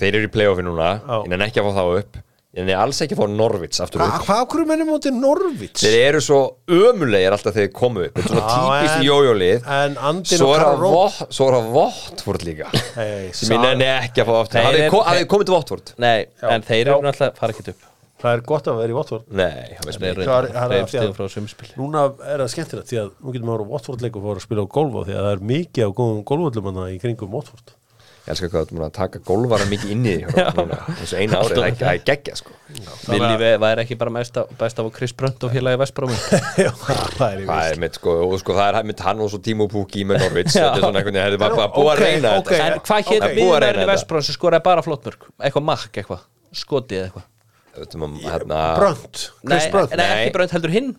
Speaker 3: þeir eru í playoffi núna
Speaker 1: Já.
Speaker 3: ég nenni ekki að fá þá upp ég nenni alls ekki að fá Norvits aftur upp
Speaker 1: Hva- hvað okkur mennum átti Norvits
Speaker 3: Þeir eru svo ömulegir alltaf þegar þeir komu upp Þetta er svona
Speaker 1: Já,
Speaker 3: típist
Speaker 1: en-
Speaker 3: jójólið
Speaker 1: en andinn
Speaker 3: Svo
Speaker 1: og
Speaker 3: er
Speaker 1: Karl
Speaker 3: að
Speaker 1: Ró-
Speaker 3: vott- svo er að Votvort líka
Speaker 1: Hey,
Speaker 3: sem ég nenni ekki að fá aftur
Speaker 2: Þeir
Speaker 3: Hafið þið
Speaker 2: eru-
Speaker 3: ko- hafið þið komið til Votvort?
Speaker 2: nei, en þeir
Speaker 1: Já.
Speaker 2: eru náttúrulega fara ekki upp
Speaker 1: það er gott að vera í Watford
Speaker 3: Nei, það veist
Speaker 2: þeir
Speaker 3: mér
Speaker 2: eru
Speaker 1: Það er- það er
Speaker 2: tveim
Speaker 1: að-
Speaker 2: stegum frá sumspili
Speaker 1: núna er það skemmtilegt því að nú getum við að voru Watford leik og fóra að spila á golfa því að það er mikið af góðum golfvöldum hana í kringum Watford
Speaker 3: Ég elskar hvað þú múin að taka golvara mikið inn í því Hjörvar, núna. eins og eina árið, það er ekki- það er geggja sko
Speaker 2: Vilji væri ekki bara mest af, best af að Chris Brunt og félagi Vestbrómi
Speaker 1: Já, það er í
Speaker 3: Það
Speaker 1: viss
Speaker 3: er mitt sko, og sko það er mitt hann og svo Timo Pukki með Norvits Þetta er svona einhvern veginn, það er bara bara búið að
Speaker 1: Ok,
Speaker 3: reyna
Speaker 1: ok.
Speaker 3: þetta
Speaker 2: En hvað hétt
Speaker 3: Það er
Speaker 2: okay.
Speaker 3: búið að reyna
Speaker 2: miðverðin
Speaker 3: þetta.
Speaker 2: Vestbrómi sem skoraði bara flottmörk eitthvað makk eitthvað, skotið eitthvað
Speaker 3: Þú veitum að hérna
Speaker 1: Brönd, Chris
Speaker 2: nei,
Speaker 1: Brönd
Speaker 2: nei, ekki
Speaker 3: Nei.
Speaker 2: Brunt heldur hinn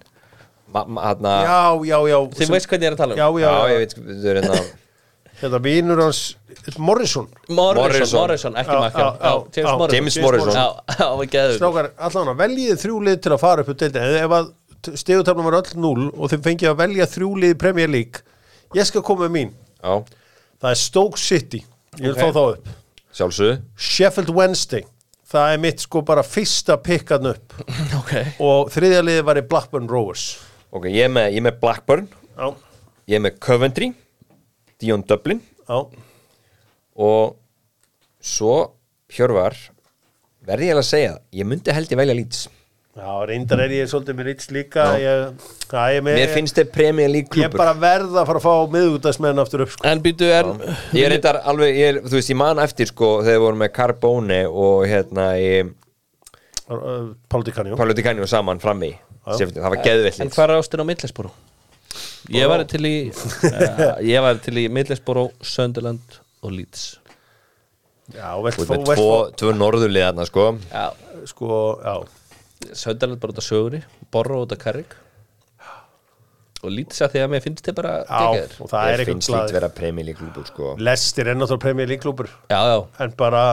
Speaker 3: ma- ma- Hérna,
Speaker 1: já, já, já
Speaker 2: Þið veist hvernig ég er að tala um.
Speaker 1: já, já,
Speaker 3: já,
Speaker 1: já,
Speaker 3: ég veit, þú er hérna
Speaker 1: Þetta vinur hans Morrison
Speaker 2: Morrison,
Speaker 3: Morrison.
Speaker 2: Morrison, ekki
Speaker 1: Já,
Speaker 2: makk
Speaker 1: já, já, já.
Speaker 2: James
Speaker 3: James
Speaker 2: Morrison
Speaker 3: Morrison.
Speaker 2: Já, já, við geðum
Speaker 1: Strákar, allan að veljið þrjú lið til að fara upp úr deildin En ef að stegutöfnum var öll 0 og þeim fengið að velja þrjú lið í Premier League Ég skal koma með mín
Speaker 3: Já,
Speaker 1: Það er Stoke City Ég vil fá þá upp
Speaker 3: sjálfsög
Speaker 1: Sheffield Wednesday Það er mitt sko bara fyrsta pikkan upp
Speaker 2: Ok
Speaker 1: Og þriðja liðið var í Blackburn Rovers
Speaker 3: Ok, ég er með, ég er með Blackburn
Speaker 1: Já,
Speaker 3: Ég er með Coventry Dion Dublin
Speaker 1: já
Speaker 3: Og svo Hjörvar Verði ég eiginlega að segja, það, ég myndi held ég velja Leeds
Speaker 1: Já, reyndar er ég svolítið með Ritz líka ég, það er með
Speaker 3: Mér finnst þeir Premier League
Speaker 1: Ég
Speaker 3: klubur
Speaker 1: bara verð að fara að fá miðugdagsmenn aftur upp sko.
Speaker 2: En býtu er
Speaker 3: Ég er reyndar alveg, ég er, þú veist, ég man eftir sko þegar við vorum með Carbone og hérna í
Speaker 1: Páldi Kanjó
Speaker 3: Paolo Di Canio saman frammi Sefnir, það var geðveitt
Speaker 2: En
Speaker 3: lið.
Speaker 2: hvað er ástin á Middlesbúru? Ég var til í uh, Ég var til í Middlesbúru, Sönderland og Leeds
Speaker 1: Já, vel,
Speaker 3: Þú
Speaker 1: fó,
Speaker 3: veist, með
Speaker 1: vel,
Speaker 3: tvo,
Speaker 1: fó,
Speaker 3: tvo norðurlið þarna sko
Speaker 2: Já,
Speaker 1: sko, já,
Speaker 2: Sönderland bara út af sögurni Borro út af Karrik Og Leeds að því að mér finnst þið bara
Speaker 1: já
Speaker 2: geggjaðir.
Speaker 1: og það er
Speaker 3: Ég
Speaker 1: eitthvað
Speaker 3: finnst lít
Speaker 1: glæð
Speaker 3: vera Premier League klubur sko
Speaker 1: Lestir er náttúrulega Premier League klúpur
Speaker 2: Já, já,
Speaker 1: en bara,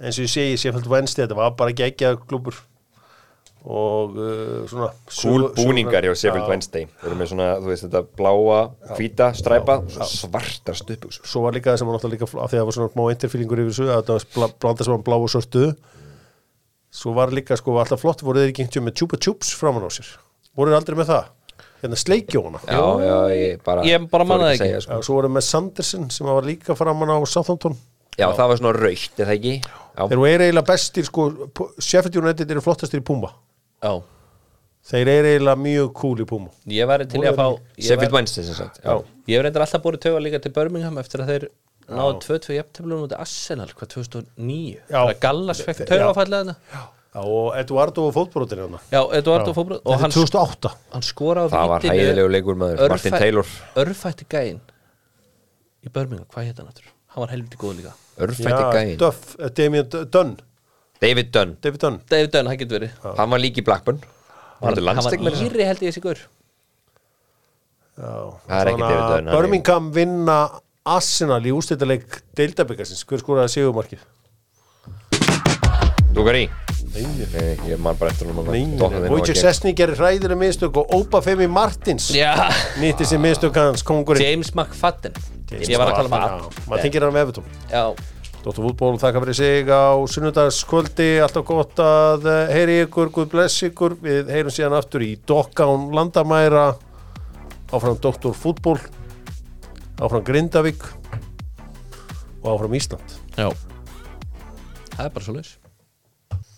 Speaker 1: eins og ég segi, Sheffield Wednesday þetta var bara geggja klúpur og uh, svona
Speaker 3: Cool
Speaker 1: sögu-
Speaker 3: búningar hjá
Speaker 1: sögunar-
Speaker 3: Sheffield
Speaker 1: Já,
Speaker 3: Wednesday Við erum með svona, þú veist, þetta bláa, hvíta, stræpa og svo svartar stöpu
Speaker 1: Svo var líka það sem var náttúrulega líka fl- af því að það var svona smá interfílingur yfir þessu að þetta var bla- blanda saman blá og sortu Svo var líka sko alltaf flott voru þeir ekki einhvern tímann með tjúpa tjúps framan á sér voru þeir aldrei með það hérna sleikjóna
Speaker 3: Já, já, ég bara
Speaker 2: Ég bara man
Speaker 3: þori
Speaker 2: það
Speaker 3: að
Speaker 2: ekki.
Speaker 3: segja, sko.
Speaker 1: Já, svo voru með Sanderson sem var líka framan á Southampton
Speaker 3: Já, það var svona raukt, er það ekki? Já,
Speaker 1: Þeir eru eiginlega bestir sko, P- Sheffield United eru flottastir í Puma
Speaker 2: já
Speaker 1: Þeir eru eiginlega mjög cool í Puma
Speaker 2: Ég var til í að fá ég
Speaker 3: Sheffield
Speaker 2: væri-
Speaker 3: Wednesday sem sagt Já,
Speaker 2: Ég hef reyndar alltaf búið tauga líka til Birmingham eftir að þeir náðu 2-2 jafntöflunum út af Arsenal hvað 2009
Speaker 1: Já.
Speaker 2: Það Gallas fekk taugafallið hana
Speaker 1: Já, og Eduardo og fótbrotin hérna
Speaker 2: Já, Eduardo fóbröð og
Speaker 1: Þetta
Speaker 2: hann,
Speaker 1: er 2008
Speaker 2: hann skoraði á
Speaker 3: Það var
Speaker 2: vítinu
Speaker 3: hæðilegu leikur, maður. Martin Taylor.
Speaker 2: Örfætti gæinn í Birmingham, hvað hétt hann aftur? Hann var helviti góð líka
Speaker 3: örfætti gæðin
Speaker 1: Duff, eh, Damien D- Dunn
Speaker 3: David Dunn,
Speaker 1: David Dunn
Speaker 2: David Dunn, hann getur verið
Speaker 3: hann var líki Blackburn Hann var
Speaker 2: Hann
Speaker 3: landsleikmenn
Speaker 2: var íri held ég þessi gaur
Speaker 1: Já,
Speaker 3: Það er ekki
Speaker 1: Þannig að
Speaker 3: David Dunn, hann er-
Speaker 1: Birmingham vinna Arsenal í ústættileik deildabikarsins Hver skoraði sigumarkið?
Speaker 3: Dugari
Speaker 1: Nei,
Speaker 3: Nei, ég man bara eftir honum
Speaker 1: nei, nei. Wojciech Sesni gerir hræðilega mistök og Ópa Femi Martins
Speaker 2: Já,
Speaker 1: nýtti sér mistök hans kongurinn
Speaker 2: James McFadden Ég var að tala um
Speaker 1: Já,
Speaker 2: hann
Speaker 1: maður tengir hann með Evertón
Speaker 2: Já,
Speaker 1: Dóttur Fútból þakka fyrir sig á sunnudagskvöldi alltaf gott að eh, heyri ykkur Guð bless ykkur, við heyrum síðan aftur í Dokkán Landamæra áfram Dóttur Fútból áfram Grindavík og áfram Ísland
Speaker 2: já Það er bara svo laus